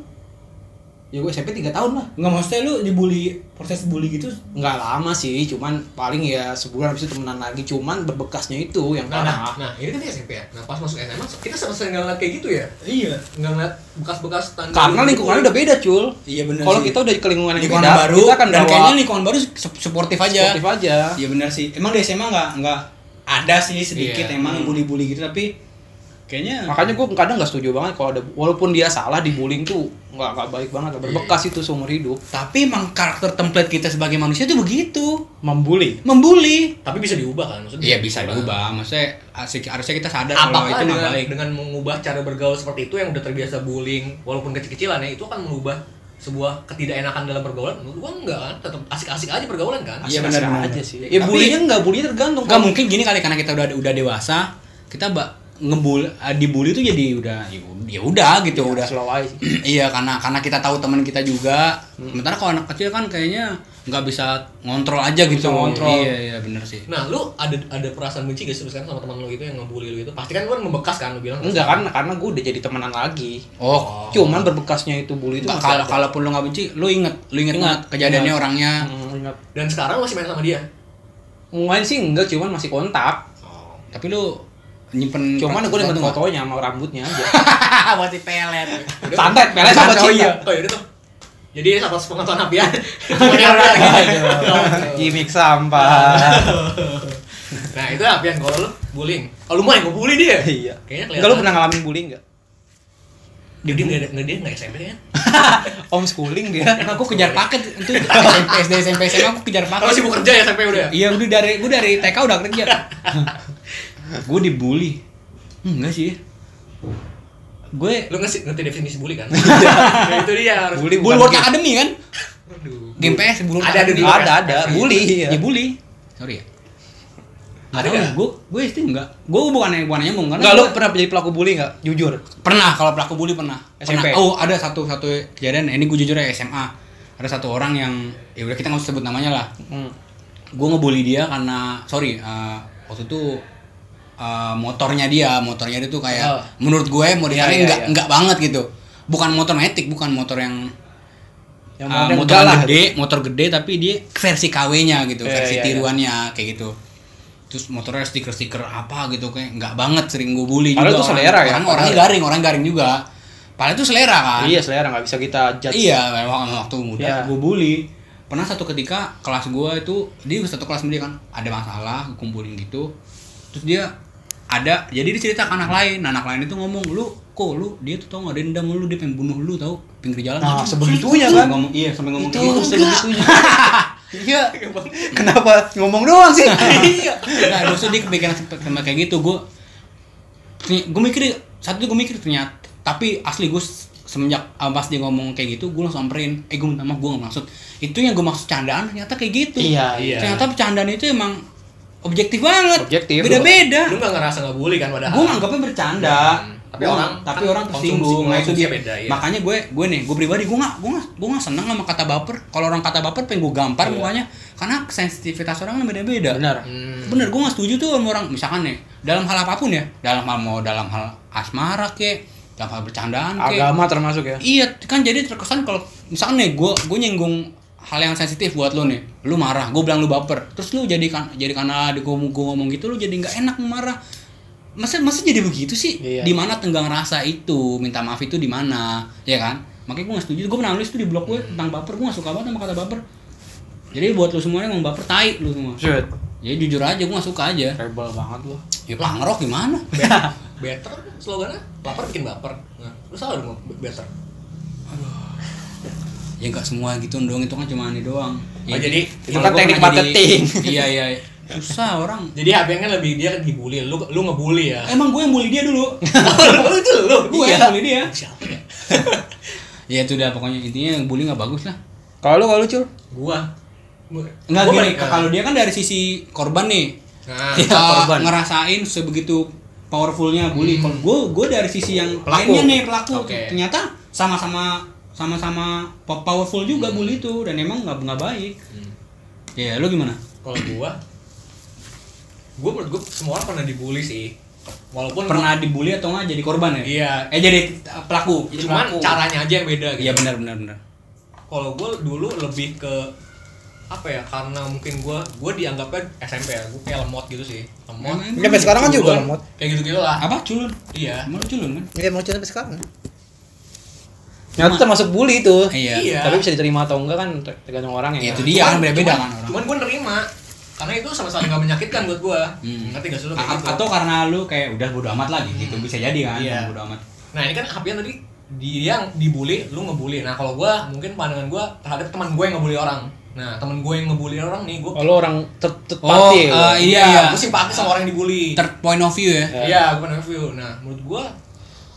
Speaker 3: ya gua SMP 3 tahun lah
Speaker 2: Enggak maksudnya lu dibully proses bully gitu?
Speaker 3: nggak lama sih cuman paling ya sebulan habis itu temenan lagi cuman berbekasnya itu yang
Speaker 1: Nah, nah,
Speaker 3: parah
Speaker 1: nah, ini kan di SMP ya. Nah, pas masuk SMA kita sering nggak ngeliat kayak gitu ya.
Speaker 2: Iya.
Speaker 1: Nggak ngeliat bekas-bekas tanda.
Speaker 3: karena lingkungannya udah beda cul
Speaker 2: Iya benar.
Speaker 3: kalau kita udah ke lingkungan yang
Speaker 2: lingkungan
Speaker 3: beda
Speaker 2: baru,
Speaker 3: kita akan
Speaker 2: dan
Speaker 3: bawa
Speaker 2: kayaknya lingkungan baru sup- suportif aja.
Speaker 3: sportif aja
Speaker 2: Iya benar sih. Emang di SMA nggak nggak ada sih sedikit
Speaker 1: Iya.
Speaker 2: emang bully-bully gitu tapi kayaknya
Speaker 3: makanya gue kadang nggak setuju banget kalau ada walaupun dia salah dibullying tuh nggak nggak baik banget nggak berbekas
Speaker 2: Iya.
Speaker 3: itu seumur hidup
Speaker 2: tapi emang karakter template kita sebagai manusia itu begitu
Speaker 3: membuli
Speaker 2: membuli
Speaker 1: Tapi bisa diubah kan maksudnya.
Speaker 2: iya bisa diubah maksudnya asik- harusnya kita sadar kalau
Speaker 1: Apakah
Speaker 2: itu nggak
Speaker 1: dengan,
Speaker 2: baik
Speaker 1: dengan mengubah cara bergaul seperti itu yang udah terbiasa bullying walaupun kecil-kecilan ya itu akan mengubah sebuah ketidakenakan dalam pergaulan menurut gua enggak kan tetap asik-asik aja pergaulan kan
Speaker 2: Iya,
Speaker 3: Asik-asik
Speaker 2: benar, benar.
Speaker 3: aja sih ya
Speaker 2: Tapi-
Speaker 3: bullyingnya nggak bullyingnya tergantung
Speaker 2: nggak mungkin gini kali karena kita udah udah dewasa kita bak ngebul eh, dibully tuh jadi udah ya udah gitu udah
Speaker 3: slow aja sih.
Speaker 2: iya karena karena kita tahu teman kita juga
Speaker 3: Hmm.
Speaker 2: sementara kalau anak kecil kan kayaknya nggak bisa ngontrol aja gitu
Speaker 3: Bisa ngontrol.
Speaker 2: iya iya bener sih
Speaker 1: nah lu ada ada perasaan benci gak sih sekarang sama teman lu itu yang ngebully lu itu pasti kan lu kan membekas kan lu bilang
Speaker 3: enggak kan karena gue udah jadi temenan lagi
Speaker 2: oh
Speaker 3: cuman berbekasnya itu bully itu
Speaker 2: Nggak,
Speaker 3: masih
Speaker 2: kalau
Speaker 3: ada.
Speaker 2: kalaupun lu nggak benci lu inget lu inget,
Speaker 3: Ingat,
Speaker 2: banget kejadiannya
Speaker 3: ingat.
Speaker 2: orangnya
Speaker 3: Hmm, ingat
Speaker 1: dan sekarang masih main sama dia
Speaker 3: main sih enggak cuman masih kontak
Speaker 1: oh.
Speaker 2: tapi lu nyimpen
Speaker 3: cuman gue
Speaker 2: dengan
Speaker 3: dengan fotonya sama rambutnya aja
Speaker 2: buat di pelet
Speaker 3: santet pelet sama
Speaker 2: Santet, oh
Speaker 3: cinta
Speaker 2: iya.
Speaker 1: oh yaudah tuh jadi sahabat pengetahuan api ya
Speaker 3: gimmick sampah
Speaker 1: nah itu api yang kalau lu bullying kalau lu main gue bully dia
Speaker 3: iya
Speaker 1: kayaknya kelihatan
Speaker 3: enggak lu pernah ngalamin bullying enggak
Speaker 1: dia dia nggak dia nggak SMP kan
Speaker 3: homeschooling dia
Speaker 2: karena Nah, aku kejar paket itu SMP SD SMP SMA aku kejar
Speaker 1: kalau
Speaker 2: paket
Speaker 1: sibuk kerja ya SMP udah ya
Speaker 2: iya udah dari gue dari TK udah kerja gue dibully Hmm, enggak sih gue
Speaker 1: lu ngerti ngerti definisi bully kan nah, itu dia harus
Speaker 3: Bully bukan
Speaker 2: Bulwark
Speaker 3: game.
Speaker 2: Academy kan
Speaker 1: Aduh.
Speaker 2: game PS
Speaker 1: Ada,
Speaker 2: Bulwark
Speaker 1: ada
Speaker 2: Academy.
Speaker 1: dulu.
Speaker 3: ada ada bully
Speaker 2: ya.
Speaker 3: iya.
Speaker 2: bully sorry ya
Speaker 1: Ada
Speaker 2: ada tahu
Speaker 1: nggak?
Speaker 2: gue gue itu enggak gue bukan bukan nyambung karena
Speaker 3: Enggak lu
Speaker 2: gua-
Speaker 3: pernah jadi pelaku bully enggak? Jujur.
Speaker 2: Pernah kalau pelaku bully pernah.
Speaker 3: SMP?
Speaker 2: Pernah. Oh, ada satu satu kejadian ini gue jujur ya SMA. Ada satu orang yang ya udah kita nggak usah sebut namanya lah.
Speaker 3: Hmm.
Speaker 2: Gue ngebully dia karena sorry eh, waktu itu eh, motornya dia, motornya dia tuh kayak
Speaker 3: Oh.
Speaker 2: menurut ya, gue modifannya
Speaker 3: Iya, iya,
Speaker 2: enggak
Speaker 3: iya.
Speaker 2: enggak banget gitu. Bukan motor metik, bukan motor yang
Speaker 3: Yang
Speaker 2: Ah,
Speaker 3: model
Speaker 2: motor
Speaker 3: galah.
Speaker 2: gede, motor gede tapi dia versi KW-nya gitu,
Speaker 3: Iya,
Speaker 2: versi
Speaker 3: iya, iya.
Speaker 2: tiruannya kayak gitu. Terus motornya stiker-stiker apa gitu kayak nggak banget sering gue bully juga.
Speaker 3: Padahal itu selera ya,
Speaker 2: Orang, orangnya
Speaker 3: padahal.
Speaker 2: garing, orang garing juga. Padahal itu selera kan.
Speaker 3: Iya, selera nggak bisa kita judge.
Speaker 2: Iya, memang waktu muda
Speaker 3: Iya.
Speaker 2: gue bully. Pernah satu ketika kelas gue itu dia satu kelas sama dia kan, ada masalah, gua kumpulin gitu. Terus dia ada, jadi dia cerita ke anak lain. Nah, anak lain itu ngomong, "Lu kok lu dia tuh tau nggak dendam lu, dia pengen bunuh lu tau pinggir jalan."
Speaker 3: Nah,
Speaker 2: Gitu.
Speaker 3: sebegitunya kan?
Speaker 2: Ngomong, iya, sampai ngomong
Speaker 3: Itu
Speaker 2: kayak gitu.
Speaker 3: sebegitunya. Iya. Kenapa ngomong doang sih? Iya.
Speaker 2: Enggak, maksudnya dia kepikiran sempet sama kayak gitu. Gue gue mikir satu gue mikir ternyata tapi asli gue semenjak ah, pas dia ngomong kayak gitu gue langsung samperin eh gue minta maaf gue gak maksud itu yang gue maksud candaan ternyata kayak gitu
Speaker 3: Iya,
Speaker 1: iya.
Speaker 2: ternyata bercandaan itu emang objektif banget
Speaker 3: Objektif.
Speaker 2: beda-beda
Speaker 1: lu nggak ngerasa nggak bully kan padahal
Speaker 2: gue nganggapnya bercanda
Speaker 1: Hmm.
Speaker 2: tapi orang tapi
Speaker 1: kan
Speaker 2: orang
Speaker 1: konsumsi
Speaker 2: tersinggung nah, itu
Speaker 1: konsumsi
Speaker 2: dia
Speaker 1: beda, iya.
Speaker 2: makanya gue gue nih gue pribadi gue nggak gue nggak gue nggak seneng sama kata baper kalau orang kata baper pengen gue
Speaker 1: Iya.
Speaker 2: gampar mukanya karena sensitivitas orang kan beda-beda
Speaker 3: Benar.
Speaker 1: Hmm.
Speaker 2: bener gue nggak setuju tuh sama orang misalkan nih dalam hal apapun ya dalam hal mau dalam hal asmara kek dalam hal bercandaan kek
Speaker 3: Agama termasuk ya.
Speaker 2: iya kan jadi terkesan kalau misalkan nih gue gue nyinggung hal yang sensitif buat lo nih lu marah gue bilang lu baper terus lu jadi kan jadi karena gue ngomong, gua ngomong gitu lu jadi nggak enak marah masa masa jadi begitu sih
Speaker 3: Iya.
Speaker 2: di mana tenggang rasa itu minta maaf itu di mana ya kan makanya gue nggak setuju gue pernah nulis tuh di blog gue tentang baper gue nggak suka banget sama kata baper jadi buat lu semuanya emang baper tai lu semua
Speaker 3: Shit.
Speaker 2: ya jujur aja gue gak suka aja
Speaker 3: Rebel banget lu.
Speaker 2: ya pangrok gimana
Speaker 1: better slogannya lapar bikin baper nah, lu salah dong ngomong better
Speaker 2: ya gak semua gitu dong itu kan cuma ini doang
Speaker 1: Oh, jadi
Speaker 2: itu
Speaker 3: itu
Speaker 2: kan
Speaker 3: kan teknik marketing.
Speaker 2: iya iya iya. susah orang
Speaker 1: jadi HP kan lebih dia kan dibully lu lu ngebully ya
Speaker 2: emang gue yang bully dia dulu
Speaker 1: lu itu lu Iya.
Speaker 2: gue yang bully dia
Speaker 1: siapa ya
Speaker 2: Iya. ya itu dah pokoknya intinya yang bully gak bagus lah
Speaker 3: Kalau lu kalau lu cul?
Speaker 1: gua Gua-
Speaker 2: Enggak
Speaker 1: gua
Speaker 2: gini, kan
Speaker 1: balik-
Speaker 2: kalau dia kan dari sisi korban nih
Speaker 1: nah
Speaker 2: kita
Speaker 3: korban.
Speaker 2: ngerasain sebegitu powerfulnya bully. Kalau gue gue dari sisi yang
Speaker 4: Pelaku.
Speaker 2: lainnya nih pelaku
Speaker 4: Oke.
Speaker 2: ternyata sama-sama sama-sama po- powerful juga bully itu dan emang nggak nggak baik. Hmm. Ya lu gimana?
Speaker 1: Hmm. kalau gua gua menurut gua semua orang pernah dibully sih walaupun
Speaker 2: Pernah dibully atau nggak jadi korban ya?
Speaker 1: iya
Speaker 2: Eh jadi uh, pelaku.
Speaker 1: cuman
Speaker 2: Pelaku.
Speaker 1: caranya aja yang beda gitu
Speaker 2: Iya benar benar benar.
Speaker 1: kalau gue dulu lebih ke apa ya karena mungkin gue gue dianggapnya SMP ya gue kayak lemot gitu sih lemot
Speaker 2: Emang-
Speaker 4: Sampai sekarang kan juga
Speaker 1: culun,
Speaker 4: lemot.
Speaker 1: kayak gitu gitu lah
Speaker 2: Apa culun?
Speaker 1: iya
Speaker 2: Emang lu culun kan?
Speaker 4: Iya, mau cerita sampai sekarang.
Speaker 3: Nah, itu termasuk bully itu.
Speaker 2: Iya.
Speaker 1: Iya.
Speaker 3: Tapi bisa diterima atau enggak kan ter- tergantung orang
Speaker 2: Ya,
Speaker 3: ya.
Speaker 2: itu dia kan beda-beda
Speaker 1: cuman-
Speaker 2: kan orang.
Speaker 1: cuman gue nerima karena itu sama sekali gak menyakitkan buat gue
Speaker 2: Hmm.
Speaker 1: ngerti gak sih lo kayak
Speaker 2: A-
Speaker 1: gitu
Speaker 2: atau karena lu kayak udah bodo amat lagi gitu bisa jadi kan
Speaker 1: Iya.
Speaker 2: bodo amat
Speaker 1: nah ini kan Hapian tadi dia yang dibully lu ngebully nah kalau gue mungkin pandangan gue terhadap teman gue yang ngebully orang nah teman gue yang ngebully orang nih gue
Speaker 3: Oh, lo orang ter- third
Speaker 2: Oh,
Speaker 3: party ya,
Speaker 2: eh,
Speaker 3: lo?
Speaker 2: iya.
Speaker 1: gue simpati sama orang yang dibully
Speaker 2: third point of view ya
Speaker 1: Iya, gue pernah view. Nah, menurut gue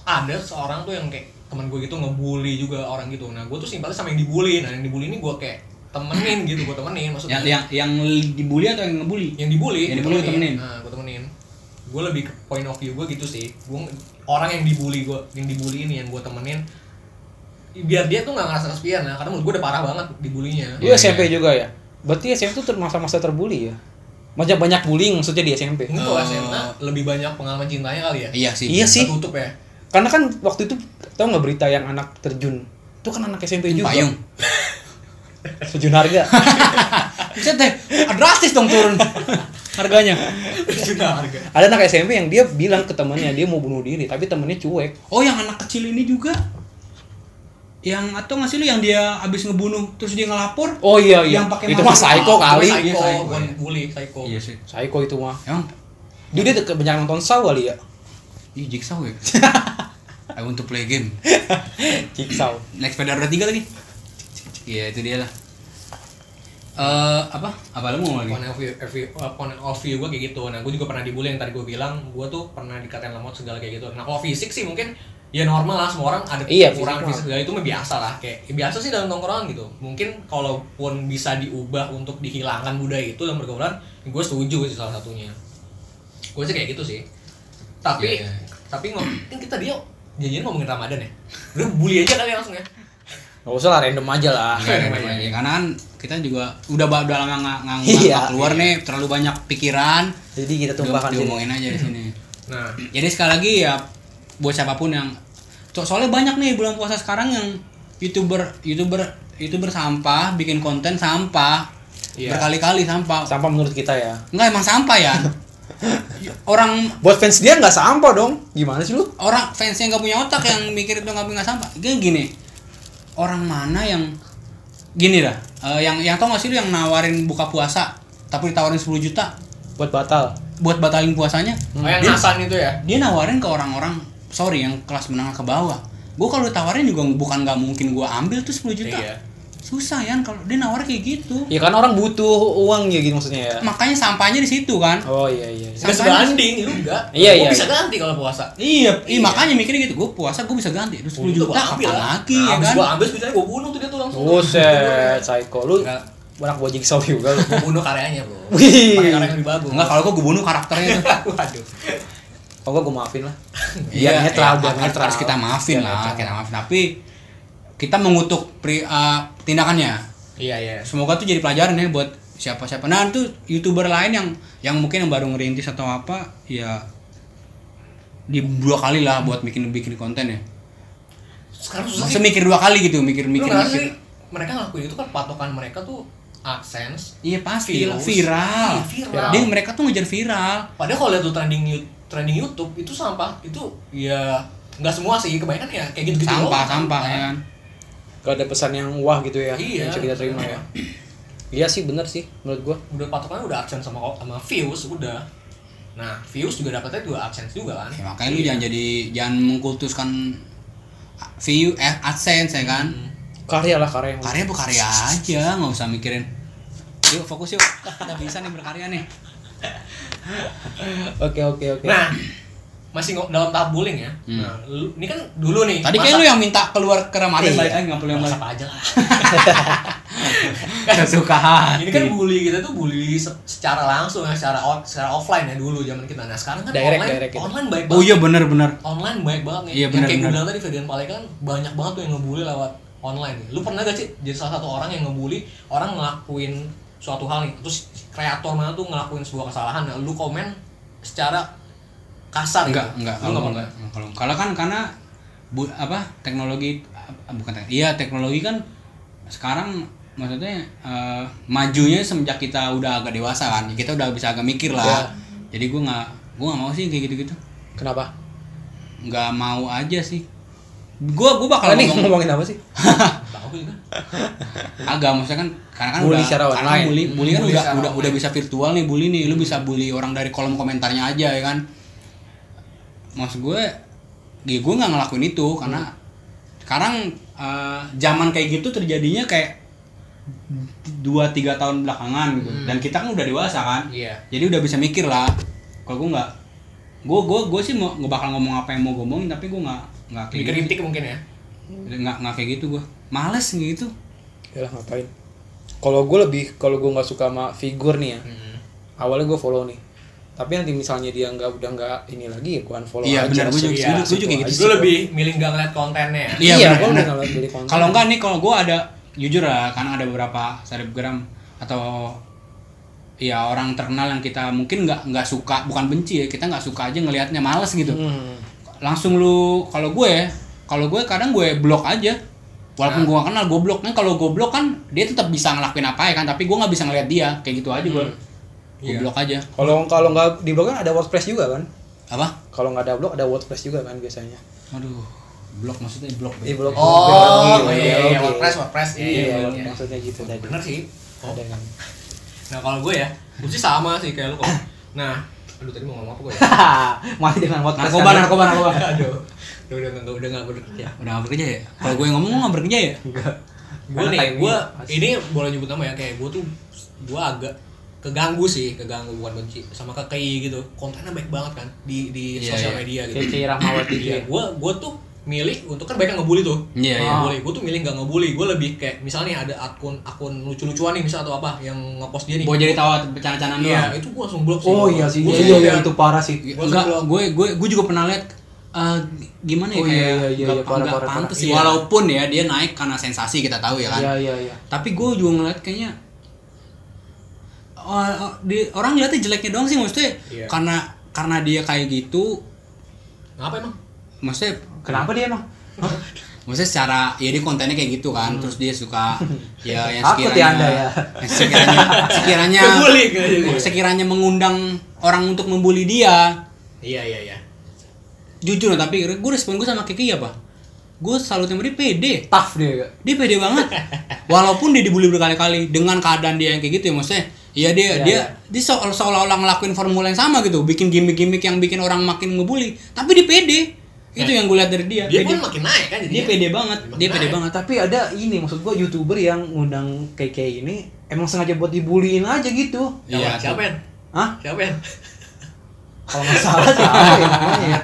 Speaker 1: ada seorang tuh yang kayak temen gue gitu ngebully juga orang gitu. Nah, gue tuh simpati sama yang dibully. Nah, yang dibully ini gue kayak temenin gitu, gue temenin maksudnya.
Speaker 2: yang yang yang dibully atau yang ngebully
Speaker 1: Yang dibully,
Speaker 2: Yang
Speaker 1: gua
Speaker 2: dibully temenin.
Speaker 1: Nah, gue temenin. Gue lebih ke point of view gue gitu sih. Gue orang yang dibully gue, yang dibully ini yang gue temenin biar dia tuh nggak ngerasa kesepian nah karena menurut gue udah parah banget dibulinya
Speaker 3: Lu SMP juga ya? Berarti SMP itu masa-masa terbully ya? Banyak banyak bullying maksudnya di SMP.
Speaker 1: mungkin kalau SMA lebih banyak pengalaman cintanya kali ya
Speaker 2: Oh. iya sih
Speaker 3: Iya sih.
Speaker 1: tertutup ya
Speaker 3: Karena kan waktu itu tau nggak berita yang anak terjun? Itu kan anak SMP juga.
Speaker 2: payung
Speaker 3: Terjun harga.
Speaker 2: Buset deh drastis dong turun harganya
Speaker 1: juga harga
Speaker 3: Ada anak SMP yang dia bilang ke temannya dia mau bunuh diri, tapi temannya cuek.
Speaker 2: oh yang anak kecil ini juga yang atau nggak sih lu yang dia abis ngebunuh terus dia ngelapor
Speaker 3: Oh iya iya.
Speaker 2: Yang pakai
Speaker 3: itu mah
Speaker 2: masker.
Speaker 3: psycho
Speaker 1: Cuma
Speaker 3: kali.
Speaker 1: psycho,
Speaker 2: Iya, psycho,
Speaker 1: bukan
Speaker 2: iya.
Speaker 1: bully psycho
Speaker 2: sih
Speaker 3: Psycho itu mah.
Speaker 2: emang
Speaker 3: Dia dia kebanyakan nonton Saw kali ya.
Speaker 2: ini jigsaw ya I want to play game
Speaker 3: Jigsaw.
Speaker 2: naik sepeda roda tiga lagi iya itu dia lah Eh apa apa lu mau lagi
Speaker 1: point of view, of view- uh, point of view gue kayak gitu nah gue juga pernah dibully yang tadi gue bilang gue tuh pernah dikatain lemot segala kayak gitu nah kalau fisik sih mungkin ya normal lah semua orang ada
Speaker 3: Iya,
Speaker 1: kurang
Speaker 3: fisik mah.
Speaker 1: fisik segala itu mah biasa lah kayak ya biasa sih dalam tongkrongan gitu mungkin kalaupun bisa diubah untuk dihilangkan budaya itu dalam pergaulan gue setuju sih salah satunya gue sih kayak gitu sih tapi
Speaker 2: Iya, iya.
Speaker 1: tapi ngom kan kita dia janjian ngomongin ramadan ya lu bully aja kali langsung ya
Speaker 3: Gak usah lah random aja lah.
Speaker 2: Enggak, enggak, enggak, enggak. karena kan kita juga udah ba- udah lama nggak nggak
Speaker 3: Iya,
Speaker 2: nggak keluar nih terlalu banyak pikiran
Speaker 3: Jadi kita tumpahkan
Speaker 2: Dia-
Speaker 3: sini. Hmm.
Speaker 2: diomongin aja di sini
Speaker 1: nah
Speaker 2: jadi sekali lagi ya buat siapapun yang so- soalnya banyak nih bulan puasa sekarang yang youtuber youtuber youtuber sampah bikin konten sampah
Speaker 1: Iya.
Speaker 2: berkali-kali sampah
Speaker 3: Sampah menurut kita ya.
Speaker 2: enggak emang sampah ya orang
Speaker 3: Buat fans dia nggak sampah dong. Gimana sih lu?
Speaker 2: orang fans yang gak punya otak yang mikir itu nggak punya sampah gini gini orang mana yang gini dah eh, yang yang tau gak sih lu yang nawarin buka puasa tapi ditawarin 10 juta
Speaker 3: Buat batal.
Speaker 2: buat batalin puasanya
Speaker 1: oh yang nasan itu ya
Speaker 2: dia nawarin ke orang-orang sorry yang kelas menengah ke bawah gue kalau ditawarin juga bukan nggak mungkin gue ambil tuh 10 juta
Speaker 1: Iya.
Speaker 2: susah ya kalau dia nawar kayak gitu
Speaker 3: Ya kan orang butuh uang ya gitu maksudnya ya.
Speaker 2: makanya sampahnya di situ kan
Speaker 3: Oh iya iya. iya.
Speaker 1: Gak sebanding, lu enggak.
Speaker 3: Iya,
Speaker 1: Gua
Speaker 3: iya,
Speaker 1: bisa
Speaker 3: iya.
Speaker 1: ganti kalau puasa.
Speaker 2: Iya, iya, makanya mikirnya gitu. Gue puasa, gue bisa ganti. Terus 10 juta, kapan lagi
Speaker 1: Nah,
Speaker 2: ya kan?
Speaker 1: Gue ambil sebetulnya gue bunuh tuh dia tuh langsung.
Speaker 3: Buset, psycho lu.
Speaker 1: Enggak.
Speaker 3: Anak buat jigsaw juga lu.
Speaker 1: Gue bunuh karyanya bro.
Speaker 3: Wih.
Speaker 1: Pakai karya yang lebih bagus.
Speaker 2: Enggak, kalau gue, gue bunuh karakternya tuh.
Speaker 1: Waduh.
Speaker 3: Kalau gue maafin lah.
Speaker 2: Iya,
Speaker 3: Biar netral,
Speaker 2: iya,
Speaker 3: biar
Speaker 2: harus-
Speaker 3: netral.
Speaker 2: Harus kita maafin
Speaker 3: Biar
Speaker 2: lah,
Speaker 3: netral.
Speaker 2: kita maafin. Tapi kita mengutuk pri, eh, tindakannya.
Speaker 1: Iya iya.
Speaker 2: Semoga tuh jadi pelajaran ya buat siapa-siapa. Nah, itu youtuber lain yang yang mungkin yang baru ngerintis atau apa, ya di dua kali lah buat bikin bikin konten ya.
Speaker 1: Sekarang susah sih.
Speaker 2: Maksudnya mikir dua kali gitu, mikir
Speaker 1: Lu
Speaker 2: mikir
Speaker 1: ngerasa
Speaker 2: mikir.
Speaker 1: sih mereka ngelakuin itu kan patokan mereka tuh AdSense.
Speaker 2: Iya pasti lah,
Speaker 1: Views.
Speaker 2: viral.
Speaker 1: Iya, viral.
Speaker 2: Dia mereka tuh ngejar viral.
Speaker 1: Padahal kalau lihat tuh trending you- trending YouTube itu sampah itu ya nggak semua sih kebanyakan ya kayak gitu gitu
Speaker 2: Sampah, sampah ya kan.
Speaker 3: Gak ada pesan yang wah gitu ya.
Speaker 1: Iya.
Speaker 3: Yang bisa kita terima ya. Iya sih bener sih menurut gue.
Speaker 1: Udah patokannya udah AdSense sama sama views udah. Nah, views juga dapatnya juga AdSense juga kan.
Speaker 2: Ya, makanya lu jangan jadi jangan mengkultuskan view eh, adsense ya kan.
Speaker 3: Karya lah karya yang
Speaker 2: Karya berkarya aja, nggak usah mikirin. Yuk fokus yuk, kita bisa nih berkarya nih.
Speaker 3: Oke oke oke.
Speaker 1: Nah, masih ngo- dalam tahap bullying ya.
Speaker 2: Hmm.
Speaker 1: Nah, lu- ini kan dulu nih.
Speaker 2: Eh, ya, Tadi kayak lu yang minta keluar ke Ramadan balik lagi nggak perlu yang
Speaker 1: yang
Speaker 2: balik.
Speaker 1: aja lah.
Speaker 2: Sesuka hati.
Speaker 1: Ini kan bully kita tuh bully se- secara langsung ya, secara on- secara offline ya dulu zaman kita. Nah, sekarang kan
Speaker 3: Direct,
Speaker 1: online
Speaker 3: direct gitu.
Speaker 1: online baik banget.
Speaker 2: Oh iya benar benar.
Speaker 1: Online baik banget nih.
Speaker 2: Iya,
Speaker 1: yang
Speaker 2: benar,
Speaker 1: kayak gue
Speaker 2: benar.
Speaker 1: bilang tadi Ferdian Paleka kan banyak banget tuh yang ngebully lewat online. ya. Lu pernah gak sih jadi salah satu orang yang ngebully orang ngelakuin suatu hal nih, terus kreator mana tuh ngelakuin sebuah kesalahan, nah, lu komen secara kasar
Speaker 2: Enggak,
Speaker 1: gitu.
Speaker 2: enggak.
Speaker 1: Lu
Speaker 2: Kalau
Speaker 1: nggak pernah.
Speaker 2: enggak. Kalau kalau kan karena bu, apa teknologi ah, bukan teknologi. Iya, teknologi kan sekarang maksudnya eh, majunya semenjak kita udah agak dewasa kan. Kita udah bisa agak mikir lah.
Speaker 3: Iya.
Speaker 2: Jadi gua nggak gua nggak mau sih kayak gitu-gitu.
Speaker 3: Kenapa?
Speaker 2: Nggak mau aja sih. Gua gua bakal
Speaker 3: Kalau ini
Speaker 2: ngomong-
Speaker 3: ngomongin apa sih?
Speaker 1: Tahu juga.
Speaker 2: agak maksudnya kan karena kan
Speaker 3: Bully
Speaker 2: udah
Speaker 3: secara
Speaker 2: karena
Speaker 3: online.
Speaker 2: bully, bully kan
Speaker 1: Bully
Speaker 2: udah
Speaker 1: secara
Speaker 2: udah
Speaker 1: online.
Speaker 2: udah bisa virtual nih bully nih lu bisa bully orang dari kolom komentarnya aja ya kan maksud gue ya gue nggak ngelakuin itu karena sekarang eh, zaman kayak gitu terjadinya kayak dua tiga tahun belakangan gitu dan kita kan udah dewasa kan
Speaker 1: Iya.
Speaker 2: jadi udah bisa mikir lah kalau gue nggak gue gue gue sih mau nggak bakal ngomong apa yang mau gue ngomongin tapi gue nggak nggak kayak gitu
Speaker 1: Dikritik mungkin ya.
Speaker 2: nggak nggak kayak gitu gue males gitu
Speaker 3: Yalah Ya ngapain? Kalau gue lebih kalau gue nggak suka sama figur nih ya. Awalnya gue follow nih. Tapi nanti misalnya dia nggak udah nggak ini lagi ya gue unfollow
Speaker 2: Iya,
Speaker 3: aja.
Speaker 2: benar, gua juga- gua
Speaker 3: Iya,
Speaker 2: juga- gua juga
Speaker 3: situ
Speaker 2: gitu
Speaker 3: aja.
Speaker 1: Lu lebih milih nggak ngeliat kontennya.
Speaker 2: Iya,
Speaker 3: Iya,
Speaker 2: benar,
Speaker 3: gue
Speaker 2: benar.
Speaker 3: udah nggak beli konten.
Speaker 2: Kalau enggak nih kalau gua ada jujur lah karena ada beberapa selebgram atau ya orang terkenal yang kita mungkin nggak nggak suka bukan benci ya kita nggak suka aja ngelihatnya males gitu
Speaker 3: Hmm.
Speaker 2: langsung lu kalau gue kalau gue kadang gue blok aja walaupun gua gue kenal gue blok kan kalau gue blok kan dia tetap bisa ngelakuin apa ya kan tapi gue nggak bisa ngelihat dia kayak gitu aja gue gue
Speaker 1: Iya.
Speaker 2: blok aja
Speaker 3: Kalau kalau nggak di blog kan ada WordPress juga kan?
Speaker 2: apa
Speaker 3: Kalau nggak ada blog ada WordPress juga kan biasanya.
Speaker 2: aduh blok maksudnya Iya, blok ya.
Speaker 3: Di
Speaker 2: Bang.
Speaker 3: blog.
Speaker 1: Oh,
Speaker 3: blog-
Speaker 1: iya,
Speaker 3: blog-
Speaker 1: iya,
Speaker 3: blog-
Speaker 1: WordPress, WordPress. Iya,
Speaker 3: Iya,
Speaker 1: iya, iya.
Speaker 3: maksudnya gitu tadi.
Speaker 1: Bener sih. Oh,
Speaker 3: Ada kan.
Speaker 1: Nah kalau gue ya, gue sih sama sih kayak lu kok. Nah, aduh tadi mau ngomong apa gue ya?
Speaker 3: Masih dengan WordPress.
Speaker 2: narkoba
Speaker 3: kan?
Speaker 2: narkoba narkoba
Speaker 1: aduh, udah udah nggak udah nggak bekerja.
Speaker 2: udah nggak bekerja ya kalau gue ngomong nggak bekerja ya
Speaker 1: Gue
Speaker 3: Karena
Speaker 1: nih,
Speaker 3: timing.
Speaker 1: gue ini boleh nyebut nama ya kayak gue tuh gue agak keganggu sih, keganggu bukan benci sama kekei gitu. Kontennya baik banget kan di di
Speaker 2: Iya,
Speaker 1: sosial
Speaker 2: iya.
Speaker 1: media gitu.
Speaker 3: Cici Rahmawati
Speaker 1: Iya, gue gue tuh milih untuk kan banyak yang ngebully tuh.
Speaker 2: Iya, iya.
Speaker 1: Ngebully. Gue tuh milih nggak ngebully. Gue lebih kayak misalnya nih ada akun akun lucu-lucuan nih misal atau apa yang ngepost dia nih.
Speaker 2: mau jadi tawa bercanda-candaan doang
Speaker 1: Iya, itu gue langsung blok sih.
Speaker 3: Oh iya sih,
Speaker 1: Gua
Speaker 3: iya,
Speaker 1: langsung
Speaker 3: iya,
Speaker 1: blok.
Speaker 3: iya, itu parah sih.
Speaker 1: Gua
Speaker 2: enggak
Speaker 1: sebelum-
Speaker 2: gue gue gue juga pernah lihat eh, gimana ya
Speaker 3: Oh,
Speaker 2: kayak
Speaker 3: iya, iya, iya,
Speaker 2: nggak-
Speaker 3: iya, parah,
Speaker 2: nggak
Speaker 3: parah, parah.
Speaker 2: pantas sih
Speaker 1: Iya.
Speaker 2: walaupun ya dia naik karena sensasi kita tahu ya kan
Speaker 3: Iya iya iya.
Speaker 2: tapi gue juga ngeliat kayaknya oh, oh, di- orang ngeliatnya jeleknya doang sih maksudnya
Speaker 1: Iya.
Speaker 2: karena karena dia kayak gitu
Speaker 1: Ngapa emang?
Speaker 2: maksudnya
Speaker 3: Kenapa dia emang?
Speaker 2: maksudnya secara ya dia kontennya kayak gitu kan terus dia suka ya yang
Speaker 3: Hmm. Takut ya
Speaker 2: sekiranya
Speaker 3: Anda ya.
Speaker 2: yang sekiranya sekiranya
Speaker 1: Kebuli kayaknya.
Speaker 2: sekiranya mengundang orang untuk membuli dia
Speaker 1: Iya iya iya.
Speaker 2: jujur loh, tapi gue respon gue sama Kiki apa gue salut sama dia pede
Speaker 3: Tough dia.
Speaker 2: dia pede banget walaupun dia dibully berkali-kali dengan keadaan dia yang kayak gitu ya maksudnya Iya dia
Speaker 3: Iya,
Speaker 2: dia
Speaker 3: iya.
Speaker 2: dia se- seolah-olah ngelakuin formula yang sama gitu bikin gimmick-gimmick yang bikin orang makin ngebully tapi dia pede
Speaker 3: Iya.
Speaker 2: itu yang gue lihat dari dia
Speaker 1: Dia
Speaker 2: pede,
Speaker 1: pun makin naik kan
Speaker 2: dia
Speaker 1: jadinya.
Speaker 2: pede banget
Speaker 1: Makin
Speaker 2: dia pede
Speaker 1: naik.
Speaker 2: banget
Speaker 3: Nah, Tapi ada ini maksud gua youtuber yang ngundang KK ini emang sengaja buat dibuliin aja gitu.
Speaker 1: Siapa-
Speaker 2: Iya,
Speaker 1: Siapa yang?
Speaker 3: Hah?
Speaker 1: Siapa yang?
Speaker 3: Kalau nggak salah sih apa ya namanya ya?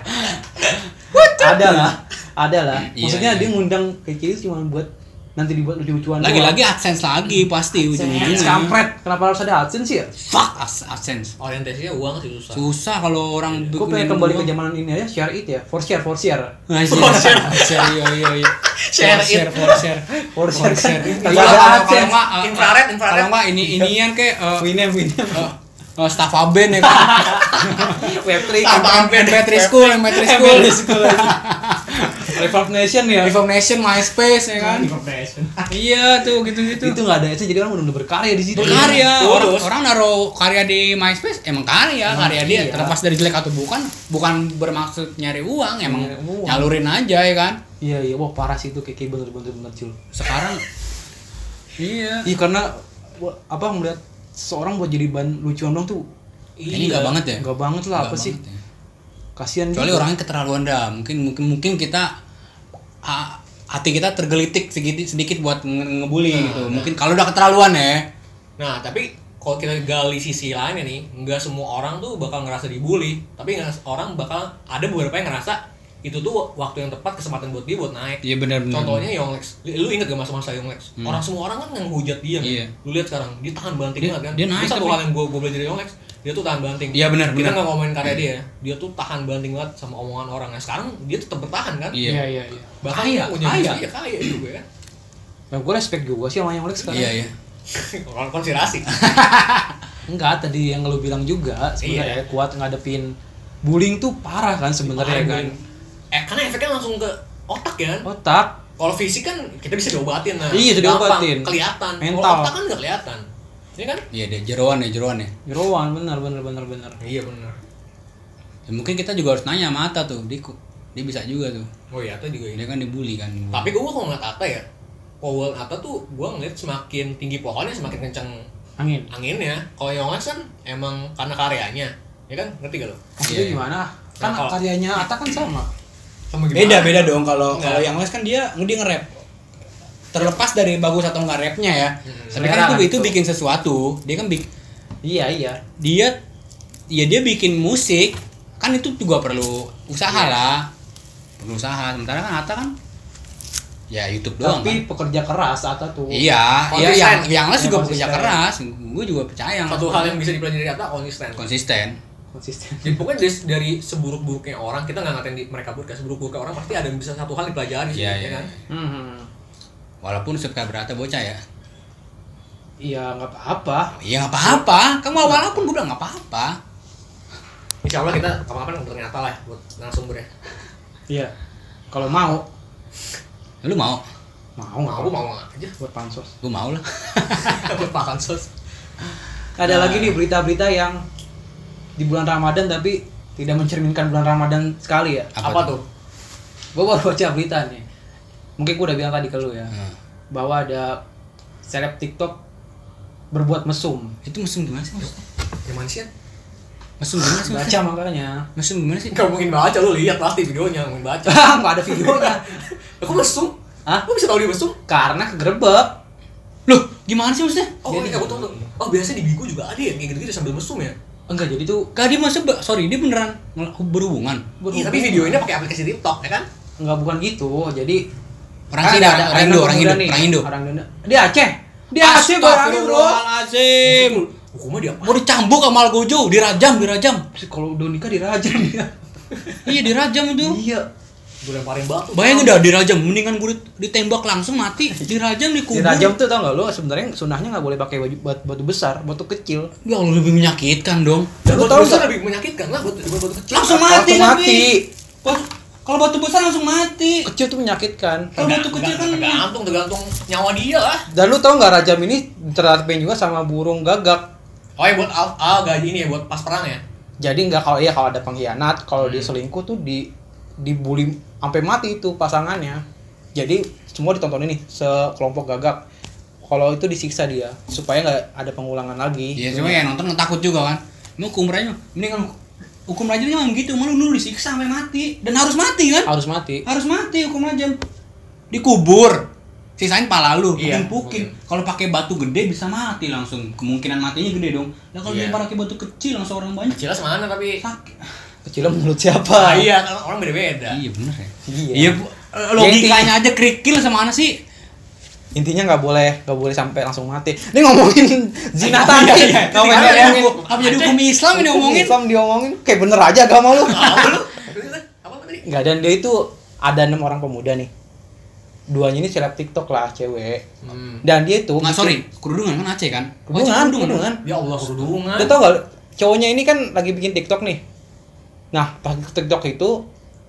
Speaker 3: Ada lah, ada lah.
Speaker 2: Iya,
Speaker 3: Maksudnya
Speaker 2: iya.
Speaker 3: dia ngundang KK itu cuma buat nanti dibuat lucu-lucuan. doang.
Speaker 2: lagi-lagi adsense lagi pasti
Speaker 3: Iya. Adsense,
Speaker 2: ujung-ujungnya
Speaker 3: Iya. kampret. Kenapa harus ada AdSense sih ya?
Speaker 2: fuck ads- adsense
Speaker 1: Orientasinya uang sih susah.
Speaker 2: susah kalau orang
Speaker 3: Gue pengen kembali ke zaman ini aja, share it ya. For share, for share.
Speaker 2: for share iya iya iya
Speaker 1: Share
Speaker 2: For
Speaker 1: it.
Speaker 2: share for share
Speaker 3: For share kan.
Speaker 2: Iya,
Speaker 3: Tanpa ada
Speaker 2: kalau- kalau
Speaker 3: AdSense.
Speaker 2: nggak, eh,
Speaker 1: Infrared, infrared.
Speaker 2: Kalau nggak ini inian kayak eh,
Speaker 3: Winem, Winem.
Speaker 2: eh, eh, stafaben ya kan.
Speaker 3: Web3.
Speaker 1: Stafaben.
Speaker 2: Metri School, Metri School.
Speaker 3: Revolve Nation ya.
Speaker 2: Reform Nation, MySpace ya kan. Iya tuh gitu-gitu.
Speaker 3: Itu nggak ada AdSense, jadi orang benar-benar berkarya di situ.
Speaker 2: Berkarya.
Speaker 1: Tulus.
Speaker 2: Orang, orang naruh karya di MySpace emang karya,
Speaker 3: Emang
Speaker 2: karya dia
Speaker 3: iya.
Speaker 2: terlepas dari jelek atau bukan, bukan bermaksud nyari uang, emang
Speaker 3: Nyari uang.
Speaker 2: nyalurin aja ya kan.
Speaker 3: Iya, iya. Wah, parah sih itu kayak bener-bener bener cul.
Speaker 2: Sekarang Iya.
Speaker 3: Iya, karena wah, apa melihat seorang buat jadi bahan lucuan dong tuh
Speaker 1: Iya.
Speaker 2: Ini enggak banget ya?
Speaker 3: nggak banget lah apa
Speaker 2: Nggak
Speaker 3: sih.
Speaker 2: banget ya.
Speaker 3: Kasihan
Speaker 2: Kecuali
Speaker 3: juga.
Speaker 2: orangnya keterlaluan dah. Mungkin mungkin mungkin kita ha- hati kita tergelitik sedikit sedikit buat nge- ngebully gitu. Mungkin kalau udah keterlaluan ya.
Speaker 1: Nah, tapi kalau kita gali sisi lainnya nih, nggak semua orang tuh bakal ngerasa dibully, tapi nggak- orang bakal ada beberapa yang ngerasa itu tuh waktu yang tepat kesempatan buat dia buat naik
Speaker 2: Iya benar-benar.
Speaker 1: contohnya Yonglex lu inget gak masa-masa Yonglex orang semua orang kan yang hujat dia kan?
Speaker 2: Iya.
Speaker 1: lu lihat sekarang dia tahan banting
Speaker 2: Dia-
Speaker 1: banget kan
Speaker 2: dia naik
Speaker 1: Itu satu
Speaker 2: tapi-
Speaker 1: hal yang gue gue belajar dari Yonglex dia tuh tahan banting
Speaker 2: Iya, benar,
Speaker 1: kita
Speaker 2: benar.
Speaker 1: nggak ngomongin karya dia ya. dia tuh tahan banting banget sama omongan orang nah sekarang dia tetap bertahan kan
Speaker 2: Iya.
Speaker 3: Iya iya iya.
Speaker 1: bahkan
Speaker 2: Kaya,
Speaker 1: dia punya
Speaker 2: kaya.
Speaker 1: bisnis, ya kaya juga ya
Speaker 3: Nah, gue respect juga sih sama yang Lex sekarang.
Speaker 2: Iya iya.
Speaker 1: orang konspirasi
Speaker 3: Enggak, tadi yang lu bilang juga sebenarnya kuat ngadepin bullying tuh Iya. parah kan sebenarnya kan.
Speaker 1: eh karena efeknya langsung ke otak ya kan
Speaker 3: Otak
Speaker 1: kalau fisik kan kita bisa diobatin nah
Speaker 3: Iya, bisa
Speaker 1: Gampang,
Speaker 3: diobatin.
Speaker 1: kelihatan
Speaker 3: Mental.
Speaker 1: kalau otak kan nggak kelihatan Iya kan
Speaker 2: Iya deh, jeroan ya, jeroan ya.
Speaker 3: jeroan bener bener bener bener.
Speaker 1: iya benar
Speaker 2: Ya, mungkin kita juga harus nanya sama Atta tuh, dia, ku- dia bisa juga tuh.
Speaker 1: oh iya itu juga
Speaker 2: Dia kan dibully kan.
Speaker 1: Tapi gue kalau ngeliat Ata ya, Powell Ata tuh gue ngeliat semakin tinggi pohonnya semakin kenceng
Speaker 3: Angin.
Speaker 1: anginnya. Kalau Yonglex kan emang karena karyanya, ya kan? Ngerti gak lo?
Speaker 3: Maksudnya
Speaker 2: Iya.
Speaker 3: gimana? Kan
Speaker 1: Nah, kalau-
Speaker 3: karyanya Atta kan sama.
Speaker 1: Sama
Speaker 2: beda beda dong kalau
Speaker 1: Enggak.
Speaker 2: kalau yang les kan dia dia nge-rap terlepas dari bagus atau enggak rapnya ya
Speaker 1: Hmm.
Speaker 2: tapi kan
Speaker 3: Selera
Speaker 2: itu, itu
Speaker 3: gitu.
Speaker 2: bikin sesuatu dia kan bik-
Speaker 3: Iya iya.
Speaker 2: dia ya dia bikin musik kan itu juga perlu usaha lah perlu usaha sementara kan Atta kan ya YouTube doang
Speaker 3: Tapi pekerja keras Atta tuh.
Speaker 2: kan iya iya
Speaker 1: Konsisten.
Speaker 2: yang yang les
Speaker 3: Iya,
Speaker 2: juga bekerja
Speaker 3: konsisten.
Speaker 2: keras gue juga percaya yang
Speaker 1: Satu
Speaker 2: Les
Speaker 1: hal yang bisa dipelajari dari Ata konsisten.
Speaker 2: konsisten
Speaker 3: Konsisten.
Speaker 1: Jadi Ya, pokoknya dari, dari seburuk-buruknya orang kita nggak ngatain di, mereka buruk, ya. seburuk-buruknya orang pasti ada yang bisa satu hal dipelajari sih,
Speaker 2: Iya,
Speaker 1: ya
Speaker 2: iya.
Speaker 1: kan?
Speaker 3: Hmm.
Speaker 2: walaupun subscriber Atta bocah ya
Speaker 3: Iya nggak apa-apa.
Speaker 2: iya nggak apa-apa kamu walaupun gue bilang nggak apa-apa
Speaker 1: Insya Allah kita kapan-kapan ngomongin Ata lah buat ya. narasumbernya.
Speaker 3: Iya. Kalau mau
Speaker 2: lu mau
Speaker 3: mau nggak
Speaker 1: Mau aku mau aja
Speaker 3: buat pansos.
Speaker 2: gue mau lah
Speaker 1: buat makan sos.
Speaker 3: Ada lagi nih berita-berita yang di bulan Ramadan tapi tidak mencerminkan bulan Ramadan sekali ya.
Speaker 1: Apa,
Speaker 2: Apa
Speaker 1: tuh?
Speaker 2: tuh?
Speaker 3: Gue baru baca berita nih. Mungkin gue udah bilang tadi ke lu ya.
Speaker 2: Nah,
Speaker 3: Bahwa ada seleb TikTok berbuat mesum.
Speaker 2: itu musim gimana sih Mas?
Speaker 1: Yang mana sih? Yan?
Speaker 2: Mesum gimana sih?
Speaker 3: Baca makanya.
Speaker 2: Mesum gimana sih?
Speaker 1: Nggak mungkin baca lu lihat pasti videonya mungkin baca.
Speaker 3: Nggak ada videonya.
Speaker 1: Aku mesum.
Speaker 3: Hah?
Speaker 1: Lu bisa tahu dia mesum?
Speaker 3: Karena kegerebek.
Speaker 2: Loh, gimana sih maksudnya?
Speaker 1: Oh,
Speaker 3: Jadi-
Speaker 1: iya, aku tahu tuh. Oh, biasanya di Bigo juga ada ya kayak gitu-gitu sambil mesum ya.
Speaker 3: Enggak jadi tuh
Speaker 2: Kak dia masa be- sorry dia beneran ngel- berhubungan.
Speaker 1: Iya, tapi video ini pakai aplikasi TikTok ya kan?
Speaker 3: Enggak bukan gitu. Jadi kan
Speaker 2: Orang sini ada orang Indo, orang Indo, orang Indo.
Speaker 3: Orang Indo. Dia Aceh. Dia Aceh barangnya, Bro.
Speaker 2: Astagfirullahalazim.
Speaker 1: Hukumnya dia apa?
Speaker 2: Mau dicambuk sama Algojo, dirajam, dirajam.
Speaker 3: Terus Kalau udah nikah ya. dirajam dia.
Speaker 2: Iya, dirajam itu.
Speaker 3: Iya.
Speaker 1: Gue lemparin batu.
Speaker 2: Bayangin dah dirajam, mendingan gue ditembak langsung mati, dirajam dikubur.
Speaker 3: Dirajam tuh tau gak lo sebenarnya sunahnya nggak boleh pakai baju bat- batu besar, batu kecil.
Speaker 2: Ya Allah lebih menyakitkan dong.
Speaker 1: Dan
Speaker 3: Lu
Speaker 1: batu
Speaker 3: tahu
Speaker 1: besar
Speaker 3: nggak?
Speaker 1: lebih menyakitkan lah buat buat batu kecil.
Speaker 2: Langsung mati, tapi.
Speaker 3: Langsung mati.
Speaker 2: Kalau- Kalau batu besar langsung mati.
Speaker 3: Kecil tuh menyakitkan.
Speaker 2: Kalau batu kecil kan
Speaker 1: tergantung tergantung nyawa dia lah.
Speaker 3: Dan lu tau nggak rajam ini terapin juga sama burung gagak.
Speaker 1: Oh, ya buat al, al gaji ini ya buat pas perang ya.
Speaker 3: Jadi nggak kalau iya kalau ada pengkhianat, kalau
Speaker 2: Hmm.
Speaker 3: dia selingkuh tuh di dibully sampai mati itu pasangannya. Jadi semua ditonton ini sekelompok gagak. Kalau itu disiksa dia supaya nggak ada pengulangan lagi.
Speaker 2: Iya, cuma ya nonton takut juga kan. Mau hukum rajamnya, mendingan hukum rajamnya memang gitu, malu lu disiksa sampai mati dan harus mati kan?
Speaker 3: Harus mati.
Speaker 2: Harus mati hukum rajam. Dikubur. Sisain pala lu,
Speaker 1: Iya,
Speaker 2: pukin. Kalau pakai batu gede bisa mati langsung. Kemungkinan matinya gede dong. Lah kalau
Speaker 1: Iya.
Speaker 2: yeah. pakai batu kecil langsung orang banyak
Speaker 1: Kecilnya semana tapi.
Speaker 2: sakit.
Speaker 3: Kecilnya menurut siapa?
Speaker 1: Ah, iya, Eh, kan orang beda-beda.
Speaker 2: Iya bener ya.
Speaker 3: Iya.
Speaker 2: Iya, Bu. logikanya aja kerikil sama mana sih?
Speaker 3: Intinya nggak boleh nggak boleh sampai langsung mati. Ini ngomongin zina tadi.
Speaker 2: Iya, iya.
Speaker 3: Nggak boleh
Speaker 2: Apa jadi
Speaker 3: ngomongin.
Speaker 2: hukum- apa jadi hukum Islam ini
Speaker 3: Hukum
Speaker 2: ngomongin?
Speaker 3: Islam diomongin kayak bener aja agama lu.
Speaker 1: Apa lu? Apa tadi?
Speaker 3: Enggak dan dia itu ada enam orang pemuda nih. Duanya ini seleb TikTok lah cewek.
Speaker 1: Hmm.
Speaker 3: Dan dia itu
Speaker 2: Oh, Nggak, sorry, kerudungan kan Aceh kan? Oh, Aceh
Speaker 3: Kerudungan, kerudungan.
Speaker 1: Ya Allah kerudungan.
Speaker 3: Udah tau gak, cowoknya ini kan lagi bikin TikTok nih. Nah, pas TikTok itu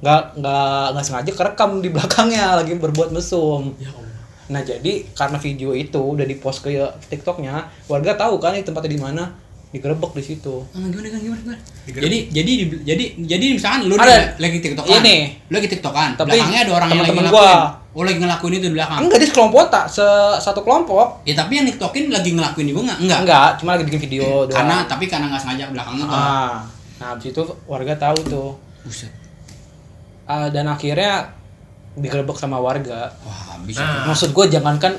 Speaker 3: nggak nggak nggak sengaja kerekam di belakangnya lagi berbuat mesum.
Speaker 1: Ya Allah.
Speaker 3: Nah, jadi karena video itu udah dipost ke TikToknya, warga tahu kan ini tempatnya di mana, digerebek di situ.
Speaker 2: Ah, gimana gimana gimana, gimana?
Speaker 1: Digerak.
Speaker 2: Jadi jadi di- jadi jadi misalkan lu
Speaker 3: Ada.
Speaker 2: lagi- lagi tiktokan.
Speaker 3: Ini.
Speaker 2: Lu lagi tiktokan.
Speaker 3: Tapi
Speaker 2: belakangnya ada orang yang lagi
Speaker 3: temen-temen
Speaker 2: ngelakuin.
Speaker 3: gua.
Speaker 2: Oh lagi ngelakuin itu di belakang.
Speaker 3: Enggak, dia sekelompok tak, se satu kelompok.
Speaker 2: Ya tapi yang tiktokin lagi ngelakuin juga enggak? Enggak.
Speaker 3: Enggak, cuma lagi bikin video doang.
Speaker 2: Karena tapi karena nggak sengaja belakangnya tuh.
Speaker 3: ah, nah habis itu warga tahu tuh.
Speaker 2: Buset.
Speaker 3: Ah, dan akhirnya digerebek sama warga.
Speaker 2: Wah, habis.
Speaker 1: Nah.
Speaker 2: itu.
Speaker 3: maksud gue jangankan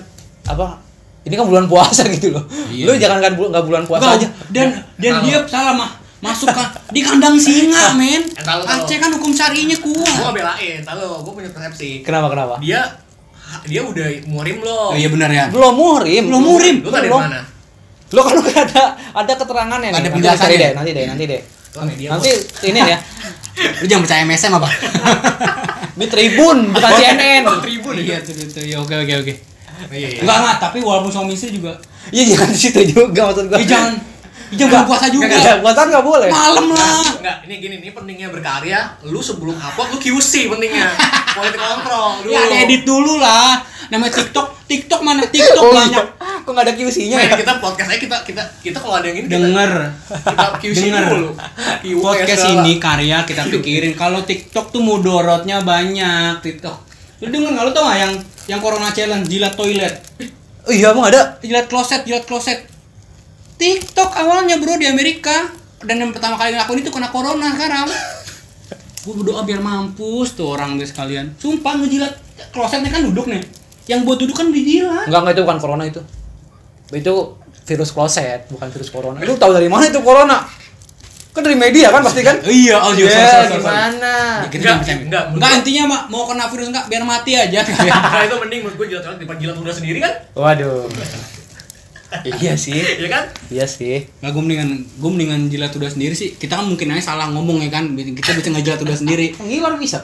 Speaker 3: apa ini kan bulan puasa gitu loh
Speaker 2: Iya.
Speaker 3: lu jangankan bul- nggak bulan puasa
Speaker 2: Enggak,
Speaker 3: aja
Speaker 2: Dan dan
Speaker 1: Kalau-
Speaker 2: dia salah mah masuk ka- di kandang singa men
Speaker 1: Tahu, tahu.
Speaker 2: Aceh kan hukum syarinya
Speaker 1: gue
Speaker 2: kuat
Speaker 1: belain tahu gue punya persepsi
Speaker 3: Kenapa kenapa?
Speaker 1: dia dia udah murim loh
Speaker 2: oh iya benar ya
Speaker 3: Belum muhrim.
Speaker 2: Belum muhrim.
Speaker 1: lu tadi dari
Speaker 3: Belum.
Speaker 1: mana
Speaker 3: Lo kan udah ada ada keterangannya
Speaker 2: Ada
Speaker 3: nih. Nanti
Speaker 2: penjelasannya. Iya,
Speaker 3: dicari deh, nanti deh, nanti deh.
Speaker 1: Lu sama dia,
Speaker 3: Nanti ini ya.
Speaker 2: lu jangan percaya MSM apa
Speaker 3: Ini Tribun bukan CNN.
Speaker 2: tribun iya tuh tuh, tuh. Ya, oke oke oke
Speaker 1: Bos. iya iya
Speaker 2: enggak enggak tapi walaupun suami istri juga
Speaker 3: Iya jangan di situ juga maksud gua.
Speaker 2: eh jangan eh, jangan puasa juga
Speaker 3: Enggak, enggak, buatan enggak boleh.
Speaker 2: malam
Speaker 1: Nah,
Speaker 2: lah
Speaker 1: enggak, ini gini, ini pentingnya berkarya. Lu sebelum upload lu QC pentingnya. Quality control dulu.
Speaker 2: ya ada edit dulu lah namanya TikTok TikTok mana TikTok
Speaker 3: Oh, iya.
Speaker 2: banyak
Speaker 3: Kok enggak ada QC-nya
Speaker 2: Iya.
Speaker 1: Men,
Speaker 3: ya?
Speaker 1: Nah, kita podcast aja kita kita kita kalau ada yang ini kita,
Speaker 2: denger
Speaker 1: kita QC
Speaker 2: Denger.
Speaker 1: dulu. QA
Speaker 2: podcast
Speaker 1: segala.
Speaker 2: ini karya kita pikirin kalau TikTok tuh mudorotnya banyak TikTok lu denger nggak lu tau nggak yang yang corona challenge jilat toilet
Speaker 3: Oh, Iya, emang ada.
Speaker 2: jilat kloset jilat kloset TikTok awalnya bro di Amerika dan yang pertama kali ngelakuin itu kena corona sekarang gue berdoa biar mampus tuh orang guys sekalian sumpah ngejilat klosetnya kan duduk nih yang buat duduk kan dijilat
Speaker 3: Enggak, enggak itu bukan corona itu. Itu virus kloset, bukan virus corona. Lu tahu dari mana itu corona? Kan dari media kan pasti kan?
Speaker 2: iya audio
Speaker 3: Iya,
Speaker 2: sorry, sorry, sorry, sorry.
Speaker 3: gimana?
Speaker 2: Kita
Speaker 1: Enggak,
Speaker 2: jangan percaya.
Speaker 1: enggak, menurut
Speaker 2: Enggak,
Speaker 1: gua-
Speaker 2: intinya mak mau kena virus enggak biar mati aja.
Speaker 1: Nah, itu mending menurut gue jilat orang daripada jilat udah sendiri kan?
Speaker 3: Waduh. iya sih.
Speaker 1: Iya kan?
Speaker 3: Iya sih.
Speaker 2: Nah, gue mendingan gue mendingan jilat udah sendiri sih. Kita kan mungkin aja salah ngomong ya kan. Kita bisa ngejilat udah sendiri.
Speaker 3: Ngiler bisa.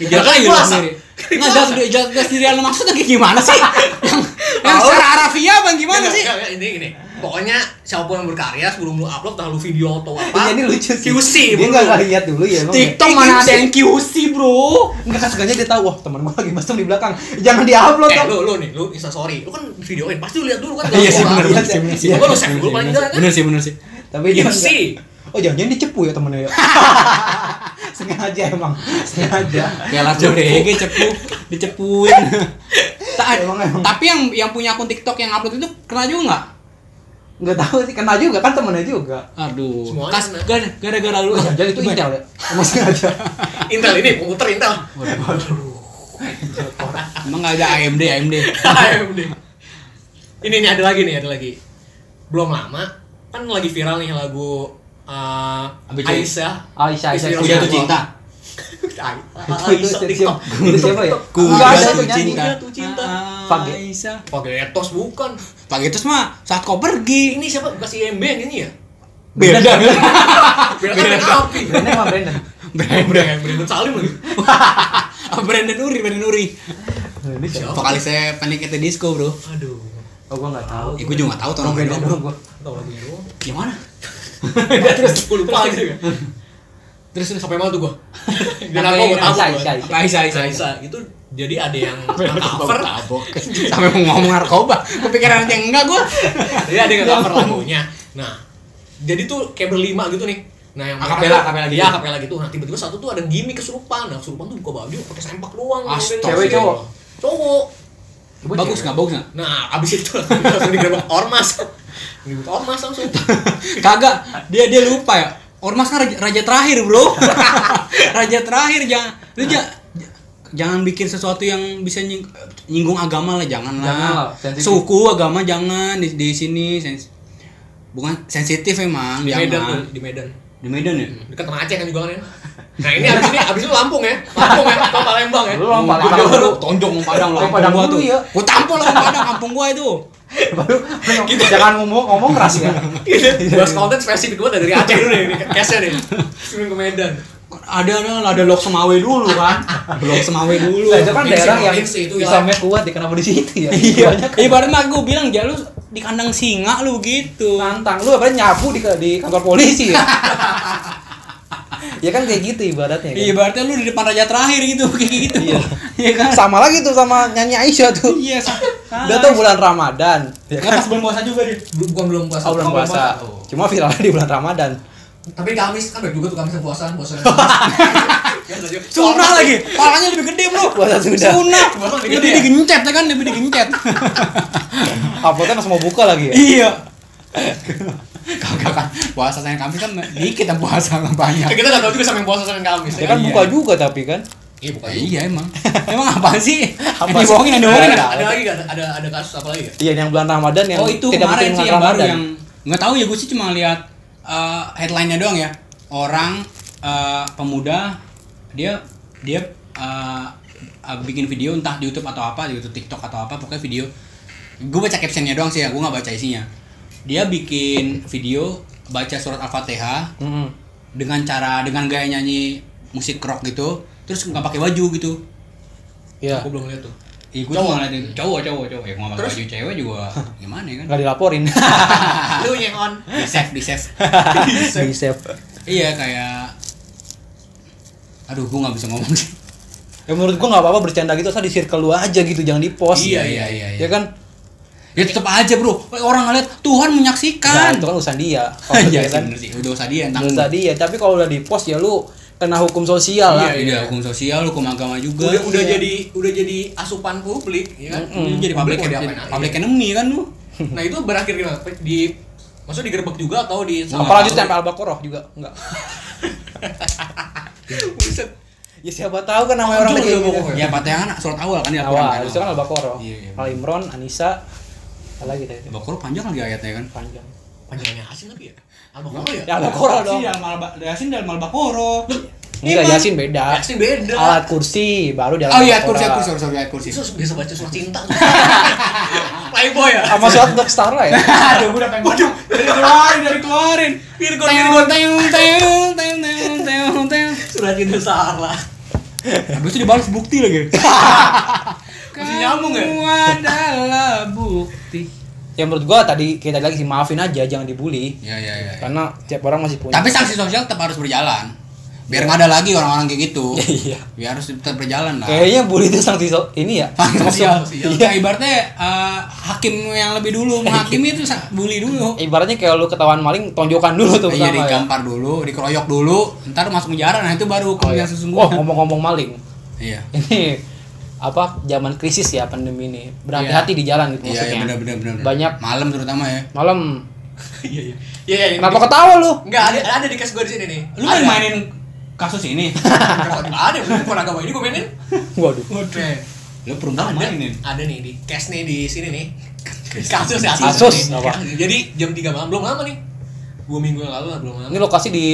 Speaker 2: Ya, Jilat aja udah sendiri. Nggak jilat udah jilat udah sendiri yang maksudnya kayak gimana sih? yang, yang secara arafiah bang
Speaker 1: Iya
Speaker 2: gimana sih?
Speaker 1: Enggak, enggak, ini gini. Pokoknya siapapun yang berkarya sebelum lu upload entah lu video atau
Speaker 3: Iya,
Speaker 1: apa.
Speaker 3: ini lucu sih.
Speaker 1: QC
Speaker 3: Dia
Speaker 1: dulu.
Speaker 3: enggak lihat dulu ya emang. ya?
Speaker 2: TikTok mana ada yang QC bro?
Speaker 3: Enggak kan sengaja dia tahu, wah teman gua lagi mesum di belakang. Jangan diupload
Speaker 1: Eh,
Speaker 3: dong.
Speaker 1: lu lu nih, lu Insta sorry. Lu kan videoin, pasti lu lihat dulu kan.
Speaker 2: Iya sih
Speaker 1: Kalau gua-
Speaker 2: benar benar sih benar sih.
Speaker 1: Gua baru save dulu paling enggak kan.
Speaker 2: Benar sih benar sih.
Speaker 3: Tapi dia
Speaker 1: QC.
Speaker 3: enggak. Oh, jangan-jangan dicepu ya temennya ya. sengaja emang. Sengaja.
Speaker 2: Kayak langsung DG cepu, dicepuin. Ta-
Speaker 3: Emang, emang.
Speaker 2: Tapi yang yang punya akun TikTok yang upload itu kena juga nggak?
Speaker 3: Enggak tahu sih kena juga kan temennya juga.
Speaker 2: Aduh,
Speaker 1: Semuanya
Speaker 2: kas
Speaker 1: kena.
Speaker 2: gara- gara-gara lu.
Speaker 3: Oh, jangan-jangan itu
Speaker 2: Gimana?
Speaker 3: Intel ya. Emang sengaja.
Speaker 1: Intel ini komputer Intel.
Speaker 2: Emang nggak ada AMD, AMD.
Speaker 1: AMD. Ini nih ada lagi nih, ada lagi. Belum lama kan lagi viral nih lagu uh,
Speaker 2: ABC.
Speaker 1: Aisyah.
Speaker 3: Oh, Aisyah, Aisyah.
Speaker 1: Istri
Speaker 2: Ku
Speaker 3: Ku
Speaker 2: jatuh
Speaker 3: jatuh
Speaker 1: Rasulullah.
Speaker 2: cinta.
Speaker 1: Ai-
Speaker 3: Itu- itu
Speaker 1: Aisyah
Speaker 3: siapa-
Speaker 1: TikTok.
Speaker 3: itu siapa ya?
Speaker 1: TikTok.
Speaker 2: Ku
Speaker 3: Nggak ada
Speaker 2: jatuh
Speaker 3: tuh nyanyi.
Speaker 2: cinta.
Speaker 1: Jatuh cinta.
Speaker 3: Pagi.
Speaker 2: Aisyah.
Speaker 1: Pakai etos bukan.
Speaker 2: Pagi terus mah saat kau pergi.
Speaker 1: Ini siapa? Bukan si IMB yang ini ya?
Speaker 2: Beda.
Speaker 1: Beda kan api.
Speaker 3: Brandon emang Brandon.
Speaker 2: Brandon.
Speaker 1: Brandon Brandon Salim lagi.
Speaker 2: Brandon Uri, Brandon Uri.
Speaker 3: Brandon siapa?
Speaker 1: Siapa?
Speaker 2: Vokalisnya Panic at the Disco, Bro.
Speaker 1: Aduh.
Speaker 3: Oh, gua enggak tahu.
Speaker 2: Eh, gue juga gak tau tuh
Speaker 3: Brandon
Speaker 2: namanya.
Speaker 3: doang gua.
Speaker 1: Tahu lagu itu.
Speaker 2: Yang mana?
Speaker 1: Terus gue lupa lagi.
Speaker 2: Terus terus
Speaker 1: Sampai mana tuh gua? Dan
Speaker 3: Sampai
Speaker 1: aku nggak tahu.
Speaker 3: Aisyah,
Speaker 1: gua.
Speaker 3: Aisyah,
Speaker 2: apa Aisyah, Aisyah. Aisyah.
Speaker 1: Aisyah itu jadi ada yang
Speaker 2: Cover
Speaker 1: cover
Speaker 2: tabok. Sampai mau ngomong narkoba. Kepikiran nanti enggak gua.
Speaker 1: Jadi ada yang cover lagunya. Nah, jadi tuh kayak berlima gitu nih. Nah, yang
Speaker 2: Akapela, akapela gitu.
Speaker 1: Iya, akapela gitu. Nah, tiba-tiba satu tuh ada gimmick kesurupan. Nah, kesurupan tuh buka baju pakai sempak doang.
Speaker 2: Astaga.
Speaker 3: Cewek cowok.
Speaker 1: Cowok.
Speaker 2: Bagus enggak? Bagus enggak?
Speaker 1: Nah, abis itu langsung digerebek ormas. Digerebek ormas langsung.
Speaker 2: Kagak, dia dia lupa ya. Ormas kan raja, raja terakhir, Bro. raja terakhir jangan lu ja- jangan bikin sesuatu yang bisa nying- nyinggung agama lah, jangan
Speaker 3: Jangan lah,
Speaker 2: lah.
Speaker 3: sensitif.
Speaker 2: Suku, agama jangan di, di sini sens- bukan sensitif emang,
Speaker 1: Di
Speaker 2: jangan.
Speaker 1: Medan tuh, di Medan.
Speaker 2: Di Medan ya?
Speaker 1: Dekat Tanah Aceh kan juga kan ya. Nah, ini abis ini abis itu Lampung ya. Lampung ya, atau Palembang ya.
Speaker 3: Lu orang
Speaker 2: Mau
Speaker 3: Padang
Speaker 2: Padang
Speaker 3: dulu.
Speaker 2: lu, tonjok mau Padang lu.
Speaker 3: Orang Padang
Speaker 2: kampung
Speaker 3: dulu
Speaker 2: gua tuh.
Speaker 3: ya.
Speaker 2: Gua tampol sama Padang kampung gua itu.
Speaker 3: Baru
Speaker 2: Gitu.
Speaker 3: jangan ngomong ngomong keras
Speaker 2: Iya,
Speaker 3: ya.
Speaker 1: Bahas konten spesifik banget dari Aceh dulu nih, case-nya nih. Sebelum ke Medan.
Speaker 2: Ada ada ada Lok Semawe dulu kan. Lok Semawe dulu.
Speaker 3: Nah, itu kan
Speaker 1: Provinsi,
Speaker 3: daerah yang
Speaker 1: provinsi itu ya.
Speaker 3: Islamnya kuat ya kenapa di situ ya?
Speaker 2: Iya, ibarat mah gue bilang ya lu di kandang singa lu gitu.
Speaker 3: nantang lu apa nyapu di di kantor polisi ya ya kan kayak gitu ibaratnya kan?
Speaker 2: Iya, ibaratnya lu di depan raja terakhir gitu kayak gitu.
Speaker 3: Iya.
Speaker 2: Iya kan?
Speaker 3: sama lagi tuh sama nyanyi Aisyah tuh
Speaker 2: Iya, sama.
Speaker 3: udah tuh bulan Ramadan ya kan
Speaker 2: pas bulan puasa juga dia.
Speaker 1: Belum bukan belum puasa.
Speaker 3: Oh, bulan puasa
Speaker 1: Oh.
Speaker 3: cuma viralnya di bulan Ramadan
Speaker 1: Tapi Kamis kan baik juga tuh Kamis Iya, yang puasa, puasa.
Speaker 2: Sunnah lagi. Palanya lebih gede, Bro.
Speaker 3: Puasa sudah.
Speaker 2: Sunnah.
Speaker 1: Puasa lebih
Speaker 2: Lebih
Speaker 1: gede ya?
Speaker 2: digencet ya kan, lebih digencet.
Speaker 3: uploadnya pas mau buka lagi ya
Speaker 2: Iya. Kagak kan. Puasa Senin Kamis kan dikit yang puasa nggak banyak.
Speaker 1: Kita nggak tahu juga sama yang puasa sama yang Kamis.
Speaker 3: ya kan
Speaker 2: Iya.
Speaker 3: buka juga tapi kan
Speaker 1: Iya, bukan.
Speaker 2: Iya emang. Emang apa sih?
Speaker 3: Apa
Speaker 2: Yang dibohongin, yang
Speaker 3: sih?
Speaker 2: dibohongin.
Speaker 3: Ada-
Speaker 1: Ada lagi nggak? Ada ada kasus apa lagi ya?
Speaker 3: iya yang bulan Ramadan yang
Speaker 2: oh itu kemarin
Speaker 3: tidak berhubungan
Speaker 2: sih yang baru
Speaker 3: Ramadan.
Speaker 2: yang nggak tahu ya gue sih cuma lihat eh, headline-nya doang ya. Orang eh, pemuda dia dia eh, eh, bikin video entah di YouTube atau apa, di YouTube TikTok atau apa, pokoknya video. Gue baca captionnya doang sih ya, gue nggak baca isinya. Dia bikin video baca surat Al-Fatihah
Speaker 3: Mm-mm.
Speaker 2: dengan cara dengan gaya nyanyi musik rock gitu, terus nggak pakai baju gitu.
Speaker 3: Iya.
Speaker 1: Aku belum lihat tuh.
Speaker 2: Ih, gue
Speaker 1: Cowok.
Speaker 2: cuma ngeliatin cowok, cowok, cowok. Ya, nggak pakai
Speaker 1: Terus?
Speaker 2: baju cewek juga gimana ya kan?
Speaker 3: Nggak dilaporin.
Speaker 1: Lu yang on.
Speaker 2: Di save, di save.
Speaker 3: Di save.
Speaker 2: iya kayak, aduh gue nggak bisa ngomong.
Speaker 3: Ya menurut gua nggak apa-apa bercanda gitu, asal di circle lu aja gitu, jangan di post.
Speaker 2: Iya, iya, iya, iya.
Speaker 3: Ya kan?
Speaker 2: ya tetap aja bro, orang ngeliat Tuhan
Speaker 3: Nah,
Speaker 2: menyaksikan.
Speaker 3: itu kan urusan dia. Kalau
Speaker 2: Iya sih
Speaker 3: dia
Speaker 2: Hmm.
Speaker 3: kan
Speaker 2: bener sih, udah usah dia
Speaker 3: urusan
Speaker 2: tanggung.
Speaker 3: dia. Tapi kalau udah di post ya lu kena hukum sosial lah.
Speaker 2: Iya, iya, hukum sosial, hukum agama juga.
Speaker 1: Udah udah
Speaker 3: Iya.
Speaker 1: jadi udah jadi asupan publik, ya kan?
Speaker 3: Hmm.
Speaker 2: Lu jadi
Speaker 1: Publik
Speaker 2: public,
Speaker 1: mau
Speaker 2: enemy-
Speaker 1: diapain aja.
Speaker 2: public enemy kan lu.
Speaker 1: Nah, itu berakhir gimana? Di maksudnya digerebek juga atau di
Speaker 3: Apalagi tempel Al-Baqarah juga enggak.
Speaker 1: Buset.
Speaker 3: Ya siapa tahu kan namanya orang
Speaker 1: Jujur
Speaker 3: lagi.
Speaker 1: dong,
Speaker 3: gitu.
Speaker 1: pokoknya.
Speaker 2: Ya Fatihah kan surat awal kan ya.
Speaker 3: Awal, itu kan Al-Baqarah.
Speaker 2: Iya, iya.
Speaker 3: Al Imron, Anisa, apa lagi tadi?
Speaker 2: Bakul panjang lagi ayatnya kan.
Speaker 3: Panjang.
Speaker 1: Panjangnya asin tapi ya. Al-Baqarah ya?
Speaker 2: Iya.
Speaker 3: Ya Al-Baqarah dong.
Speaker 2: Yasin dalam Al- Yasin dalam Al-Baqarah.
Speaker 3: Enggak
Speaker 2: Iman.
Speaker 3: Yasin beda.
Speaker 1: Yasin beda.
Speaker 3: Ah. Alat kursi baru dalam
Speaker 2: Oh iya, kursi, kursi, kursi, ayat kursi.
Speaker 1: Yesus biasa baca surat cinta. Playboy ya.
Speaker 3: Sama surat Black Star lah ya.
Speaker 2: Aduh, gue udah pengen Waduh, dari keluarin, dari keluarin.
Speaker 1: Virgo Virgo.
Speaker 2: Teung, teung, teung, teung, teung, teung, teung.
Speaker 1: Surat cinta salah.
Speaker 2: Habis itu dibalas bukti lagi.
Speaker 1: Masih nyambung ya?
Speaker 2: Kamu adalah bukti.
Speaker 3: Ya menurut gua tadi kita lagi sih maafin aja, jangan dibully.
Speaker 2: Ya, ya, ya.
Speaker 3: Karena tiap orang masih punya.
Speaker 2: Tapi sanksi sosial tetap harus berjalan. Biar nggak ada lagi orang-orang kayak gitu.
Speaker 3: Iya.
Speaker 2: Biar harus tetap berjalan lah.
Speaker 3: Kayaknya bully itu sanksi so- ini ya.
Speaker 2: Sanksi sosial.
Speaker 1: sosial.
Speaker 2: Iya, ibaratnya eh, hakim yang lebih dulu
Speaker 3: Iya.
Speaker 2: menghakimi itu sa- bully dulu.
Speaker 3: Ibaratnya kayak lu ketahuan maling, tonjokan Iya, dulu tuh
Speaker 2: Iya,
Speaker 3: pertama ya.
Speaker 2: digampar dulu, dikeroyok dulu, ntar masuk penjara, nah itu baru
Speaker 3: Oh,
Speaker 2: kemudian
Speaker 3: iya.
Speaker 2: sesungguhnya.
Speaker 3: oh ngomong-ngomong maling.
Speaker 2: Iya.
Speaker 3: Ini apa zaman krisis ya pandemi ini. Berhati-hati di jalan
Speaker 2: Iya,
Speaker 3: gitu maksudnya.
Speaker 2: iya benar benar benar. benar.
Speaker 3: Banyak
Speaker 2: malam terutama ya.
Speaker 3: malam.
Speaker 1: Iya iya. Iya iya.
Speaker 3: Kenapa ketawa lu?
Speaker 1: Enggak ada ada di case gue di sini nih.
Speaker 2: Lu kan
Speaker 1: Ada.
Speaker 2: mainin kasus ini.
Speaker 1: Enggak ada bukan agama ini gue mainin.
Speaker 3: Waduh.
Speaker 1: Oke.
Speaker 2: Lu peruntuk
Speaker 1: ada,
Speaker 2: mainin.
Speaker 1: ada nih di cash nih di sini nih kasus ya
Speaker 3: Kasus,
Speaker 1: nih.
Speaker 3: apa?
Speaker 1: jadi jam 3 malam belum lama nih dua minggu yang lalu lah belum lama
Speaker 3: Ini lokasi di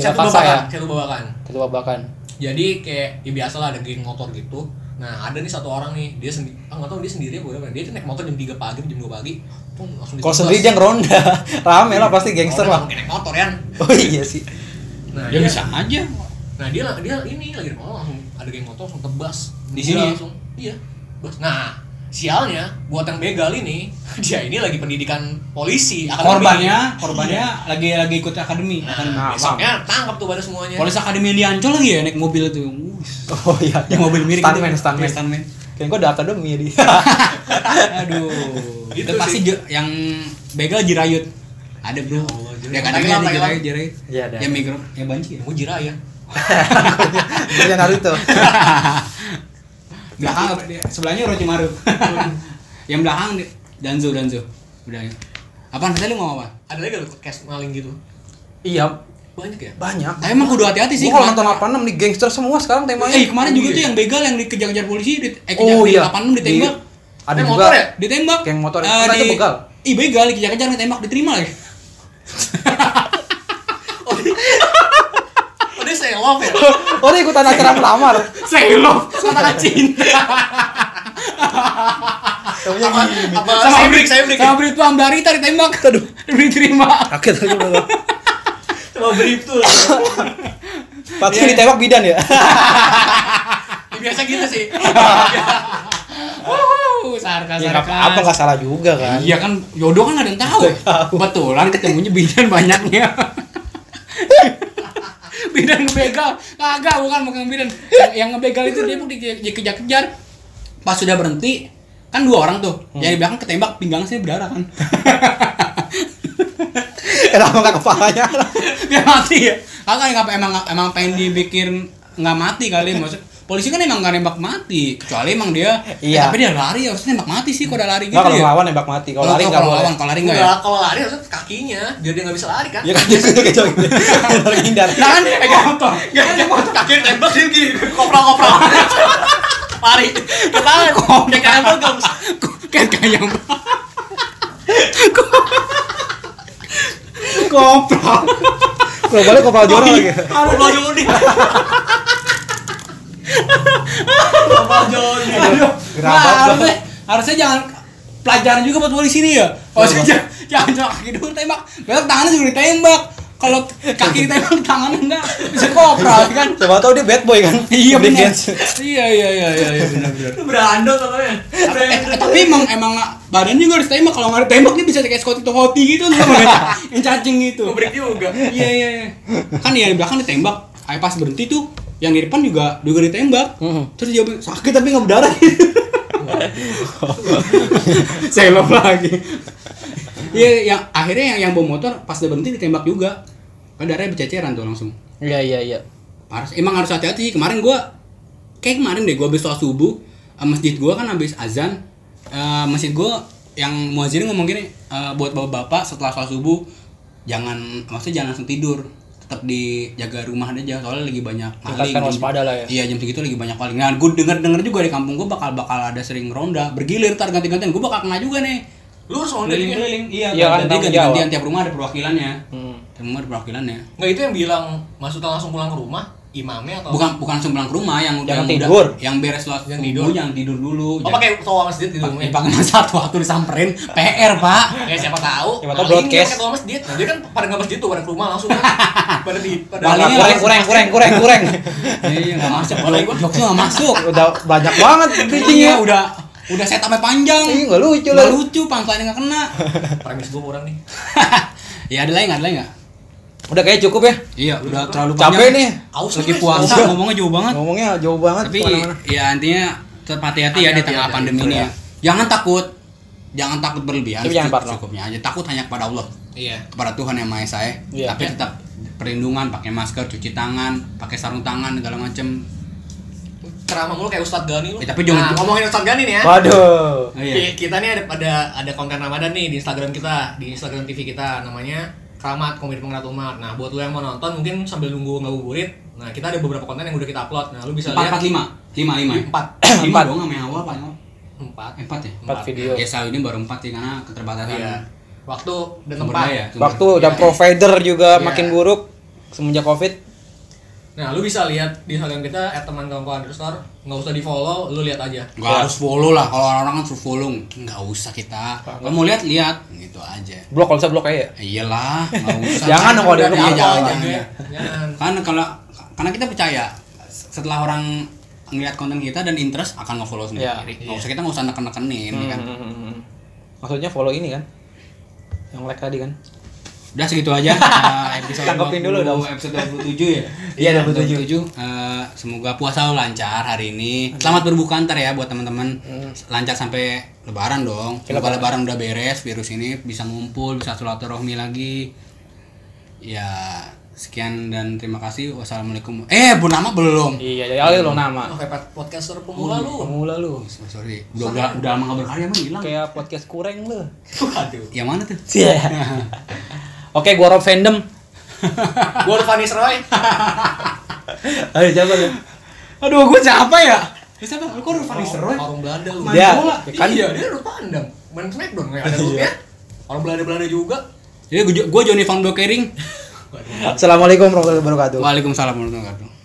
Speaker 1: satu
Speaker 3: Jakarta ya.
Speaker 1: babakan satu babakan
Speaker 3: Satu babakan.
Speaker 1: jadi kayak ya biasa lah ada geng motor gitu nah ada nih satu orang nih dia sendiri ah nggak tahu dia sendiri apa gimana. dia tuh naik motor jam 3 pagi jam 2 pagi pun langsung
Speaker 3: Kalau
Speaker 1: ditebas.
Speaker 3: sendiri dia ngeronda, rame lah pasti gangster
Speaker 1: Orang
Speaker 3: lah.
Speaker 1: kayak naik motor ya
Speaker 3: Oh iya sih.
Speaker 1: nah
Speaker 2: Ya bisa aja.
Speaker 1: nah dia dia ini lagi naik motor langsung ada geng motor langsung tebas Dia
Speaker 2: Di sini?
Speaker 1: langsung iya tebas. nah sialnya buat yang begal ini dia ini lagi pendidikan polisi akademi.
Speaker 2: Korbannya, korbannya lagi lagi ikut akademi. Akademi.
Speaker 1: Nah, besoknya tangkap tuh pada semuanya.
Speaker 2: Polis akademi yang diancol lagi ya naik mobil itu. Wuss.
Speaker 3: Oh iya.
Speaker 2: Yang mobil miring. itu.
Speaker 3: Stuntman,
Speaker 2: Iya,
Speaker 3: stuntman.
Speaker 2: stuntman.
Speaker 3: Kayaknya gua daftar demi ya di.
Speaker 2: Aduh.
Speaker 1: Gitu
Speaker 2: Itu pasti
Speaker 1: sih.
Speaker 2: je- yang begal jirayut. Ada bro.
Speaker 3: Oh,
Speaker 1: Allah, jirayut.
Speaker 2: Ya kadang
Speaker 1: Thailand,
Speaker 2: ada jirayut,
Speaker 1: Thailand.
Speaker 2: jirayut.
Speaker 3: Iya, ada.
Speaker 2: Yang mikro, yang banci ya.
Speaker 1: Gue jiraya.
Speaker 3: Kerja Naruto.
Speaker 2: belakang apa dia? sebelahnya Orochimaru yang belakang dia- Danzo Danzo belakang apaan tadi lu ngomong apa
Speaker 1: Ada lagi lu podcast maling gitu.
Speaker 3: Iya,
Speaker 1: Banyak ya?
Speaker 3: banyak.
Speaker 2: tapi emang kudu hati-hati Iya sih
Speaker 3: Gua kalau nonton
Speaker 2: kemarin-
Speaker 3: 86 nih gangster semua sekarang temanya.
Speaker 2: eh kemarin juga tuh yang begal yang dikejar-kejar polisi di, eh kejar
Speaker 3: Iya. oh
Speaker 2: di Eh,
Speaker 3: iya.
Speaker 2: 86 ditembak
Speaker 3: Di- Ada
Speaker 1: Naik
Speaker 3: juga.
Speaker 1: motor ya?
Speaker 2: ditembak
Speaker 3: Geng motor itu.
Speaker 2: Eh,
Speaker 3: Karena itu begal.
Speaker 2: ih begal dikejar-kejar ditembak diterima lagi
Speaker 1: Oh, dia saya love ya.
Speaker 3: Oh, dia ikutan acara
Speaker 2: Iya.
Speaker 3: melamar.
Speaker 2: say love kata cinta
Speaker 3: Temanya
Speaker 1: Apa
Speaker 3: gini.
Speaker 1: apa saya break, saya break.
Speaker 2: sama Brit Pambarita ditembak aduh diterima
Speaker 3: Kaget aja gua.
Speaker 1: Sama break tuh.
Speaker 3: Pasti
Speaker 2: Iya.
Speaker 3: ditembak bidan ya.
Speaker 1: Ya, biasa gitu sih.
Speaker 2: Wuhu, sarkas
Speaker 3: Ya,
Speaker 2: sarkas
Speaker 3: apa enggak salah juga kan?
Speaker 2: Iya kan jodoh kan ada yang tahu. Kebetulan ketemunya bidan banyaknya. bidan ngebegal. Kagak, bukan bukan bidan. Yang, yang ngebegal itu dia mau dikejar-kejar. Pas sudah berhenti, kan dua orang tuh. Yang
Speaker 3: Hmm.
Speaker 2: di belakang ketembak pinggang saya berdarah kan.
Speaker 3: Kenapa enggak kepalanya?
Speaker 2: dia mati ya. Kagak enggak emang emang pengen dibikin nggak mati kali maksud Polisi kan emang gak nembak mati, kecuali emang dia
Speaker 3: Iya.
Speaker 2: tapi dia lari ya, harusnya nembak mati sih kalau udah lari gitu
Speaker 3: Enggak kalau
Speaker 2: ya.
Speaker 3: lawan nembak mati. Kalau lari enggak
Speaker 2: kalau
Speaker 3: boleh.
Speaker 2: lawan, kalau lari enggak ya.
Speaker 1: Enggak, kalau lari harusnya kakinya biar dia nggak bisa lari kan.
Speaker 3: Ya kan dia sudah kejauh. Lari hindar.
Speaker 2: Lah kan pegang motor.
Speaker 1: Enggak, kaki tembak dia gini, kopra-kopra. Lari. Ketahuan. Kayak kayak bagus.
Speaker 2: Kok kayak kayak yang Kopral.
Speaker 3: Kalau balik kepala jorok
Speaker 2: Oh, iya.
Speaker 3: lagi.
Speaker 1: Aku Kopral Joni. Kopral Joni.
Speaker 2: Aduh.
Speaker 3: Gerabak
Speaker 2: Nah,
Speaker 3: dong.
Speaker 2: harusnya harusnya jangan pelajaran juga buat polisi nih
Speaker 3: Iya,
Speaker 2: ya. Harusnya jangan jangan cuma kaki dulu tembak. Belok tangannya juga ditembak. Kalau kaki ditembak tangannya enggak bisa kopral kan.
Speaker 3: Siapa tahu dia bad boy kan?
Speaker 2: Iya benar.
Speaker 3: Brigands.
Speaker 2: Iya iya iya iya iya, benar benar.
Speaker 1: Itu berando katanya.
Speaker 2: Eh, eh, tapi emang emang badannya juga harus tembak kalau nggak ditembak dia bisa kayak Scotty Tohoti gitu loh yang cacing gitu
Speaker 1: Kubrik juga.
Speaker 2: iya iya iya kan yang di belakang ditembak ayo pas berhenti tuh yang di depan juga juga ditembak
Speaker 3: Mhm.
Speaker 2: terus dia bilang sakit tapi nggak berdarah selop lagi iya yang akhirnya yang yang bawa motor pas dia berhenti ditembak juga kan darahnya berceceran tuh langsung
Speaker 3: Iya iya iya.
Speaker 2: harus emang harus hati-hati sih. kemarin gua kayak kemarin deh gua habis sholat subuh eh, masjid gua kan habis azan eh, masjid gua yang muazin ngomong gini eh, buat bapak-bapak setelah sholat subuh jangan maksudnya jangan langsung tidur tetap dijaga rumah aja soalnya lagi banyak maling
Speaker 3: Tingkatkan waspada lah ya.
Speaker 2: iya jam segitu lagi banyak maling nah gue denger denger juga di kampung gua bakal bakal ada sering ronda bergilir tar ganti gantian gua bakal kena juga nih
Speaker 1: Lu harus on
Speaker 2: keliling
Speaker 1: Enggak
Speaker 2: keliling iya
Speaker 3: Iya kan,
Speaker 2: ganti
Speaker 3: tanggung
Speaker 2: gantian
Speaker 3: jawab.
Speaker 2: tiap rumah ada perwakilannya
Speaker 3: Hmm.
Speaker 2: tiap rumah ada perwakilannya
Speaker 1: itu yang bilang maksudnya langsung pulang ke rumah imamnya atau
Speaker 2: bukan bukan langsung pulang ke rumah yang udah
Speaker 3: Jangan
Speaker 2: yang udah-
Speaker 3: tidur.
Speaker 2: yang beres sholat
Speaker 1: Jangan
Speaker 2: subuh,
Speaker 1: tidur.
Speaker 2: jangan tidur dulu
Speaker 1: Oh pakai toa masjid gitu
Speaker 2: pakai
Speaker 1: rumahnya.
Speaker 2: pakai satu waktu disamperin PR pak
Speaker 1: Ya siapa tahu.
Speaker 3: Siapa tahu
Speaker 1: Paling
Speaker 3: broadcast.
Speaker 1: dia Pakai toa masjid. Nah, dia kan pada nggak masjid tuh pada ke rumah langsung kan. Pada di pada
Speaker 2: Balingnya
Speaker 1: pada-
Speaker 3: Kurang kurang kurang kurang kurang.
Speaker 2: iya nggak masuk kalau gua jokesnya nggak masuk
Speaker 3: Udah banyak banget
Speaker 2: iya
Speaker 3: pitchingnya.
Speaker 2: udah udah set sampai panjang
Speaker 3: Ih, nggak Iya, lucu
Speaker 2: nggak
Speaker 3: lah.
Speaker 2: lucu pancelannya nggak kena
Speaker 1: premis gua kurang nih.
Speaker 2: ya ada lain nggak ada lain nggak
Speaker 3: Udah kayak cukup ya.
Speaker 2: iya udah terlalu
Speaker 3: Capek
Speaker 2: panjang
Speaker 3: nih.
Speaker 1: Aus
Speaker 2: lagi
Speaker 1: nih,
Speaker 2: puasa
Speaker 3: Aus.
Speaker 2: ngomongnya jauh banget
Speaker 3: Ngomongnya jauh banget
Speaker 2: tapi
Speaker 3: kemana-mana.
Speaker 2: ya intinya tetap hati-hati ya di
Speaker 1: Hati-hati
Speaker 2: tengah
Speaker 1: aja,
Speaker 2: pandemi ini
Speaker 1: gitu
Speaker 2: ya jangan takut jangan takut berlebihan
Speaker 3: Tapi jangan
Speaker 2: cukup-
Speaker 3: parno.
Speaker 2: cukupnya aja takut hanya kepada Allah
Speaker 1: Iya.
Speaker 2: kepada Tuhan yang Maha Esa ya.
Speaker 3: Iya.
Speaker 2: Tapi tetap perlindungan, pakai masker, cuci tangan, pakai sarung tangan segala macem.
Speaker 1: Ceramah mulu kayak Ustadz Gani lu.
Speaker 2: Eh, tapi
Speaker 1: Nah,
Speaker 2: jangan-
Speaker 1: ngomongin Ustadz Gani nih ya.
Speaker 2: Oh,
Speaker 3: Waduh.
Speaker 1: Ki- Kita nih ada ada ada konten Ramadan nih di Instagram kita, di Instagram TV kita namanya Keramat Komedi Penggerak Umat. Nah, buat lu yang mau nonton mungkin sambil nunggu ngabuburit. Nah, kita ada beberapa konten yang udah kita upload. Nah, lu bisa
Speaker 2: Empat, empat,
Speaker 1: lihat
Speaker 2: lima, lima, lima. ya?
Speaker 1: Empat.
Speaker 2: lima dong sama yang awal paling awal.
Speaker 1: Empat.
Speaker 2: Eh, Empat ya.
Speaker 3: Empat video.
Speaker 2: Ya saat ini baru empat sih karena keterbatasan.
Speaker 1: Iya. Waktu dan
Speaker 2: sumber
Speaker 1: tempat.
Speaker 2: daya, sumber-
Speaker 3: Waktu
Speaker 2: Iya.
Speaker 3: dan provider juga
Speaker 1: Iya.
Speaker 3: makin buruk semenjak Covid.
Speaker 1: Nah, lu bisa lihat di Instagram kita at teman kawan-kawan underscore. Nggak usah di follow, lu lihat aja.
Speaker 2: Nggak harus follow lah kalau orang-orang kan suruh follow nggak usah kita kalau mau lihat lihat gitu aja
Speaker 3: Blok kalau bisa blok aja. ya.
Speaker 2: iyalah nggak usah
Speaker 3: Jangan dong kalau di
Speaker 2: Udah,
Speaker 3: rumah.
Speaker 2: iya, jangan,
Speaker 1: Jangan.
Speaker 2: jangan.
Speaker 1: Jangan.
Speaker 2: kan kalau karena kita percaya setelah orang ngelihat konten kita dan interest akan nge-follow sendiri.
Speaker 3: Iya.
Speaker 2: Nggak usah kita nggak usah neken-nekenin ya kan.
Speaker 3: Hmm. Maksudnya follow ini kan. Yang like tadi kan.
Speaker 2: Udah segitu aja. Eh, episode
Speaker 3: Tangkepin dulu
Speaker 2: 20,
Speaker 3: dong.
Speaker 2: Episode 27 ya.
Speaker 3: Iya, 27.
Speaker 2: Eh, semoga puasa lo lancar hari ini. Selamat berbuka ntar ya buat teman-teman.
Speaker 3: Hmm.
Speaker 2: Lancar sampai lebaran dong. Semoga lebaran udah beres virus ini bisa ngumpul, bisa silaturahmi lagi. Ya, sekian dan terima kasih. Wassalamualaikum. Eh, bu nama belum.
Speaker 3: Iya, jadi alih lo nama.
Speaker 1: Oke, Pat, podcaster pemula lu.
Speaker 3: Pemula lu.
Speaker 2: Sorry, udah udah, udah lama nggak berkarya emang hilang. ya?
Speaker 3: Kayak podcast kurang lu.
Speaker 1: Waduh.
Speaker 2: Yang mana tuh?
Speaker 3: Iya. Oke, gua Rob Fandom.
Speaker 1: Gua Urfanis Roy.
Speaker 3: Ayo coba lu.
Speaker 2: Aduh, gue siapa ya? Lu siapa? Lu kok Rufan Roy?
Speaker 1: Orang Belanda lu.
Speaker 3: Dia,
Speaker 2: bola.
Speaker 3: ya kan
Speaker 1: iya, dia udah pandang. Main Smackdown ya, ada dulu ya. Orang Belanda-Belanda juga.
Speaker 2: Jadi gue Johnny Van Blokering.
Speaker 3: Assalamualaikum warahmatullahi wabarakatuh.
Speaker 2: Waalaikumsalam warahmatullahi wabarakatuh.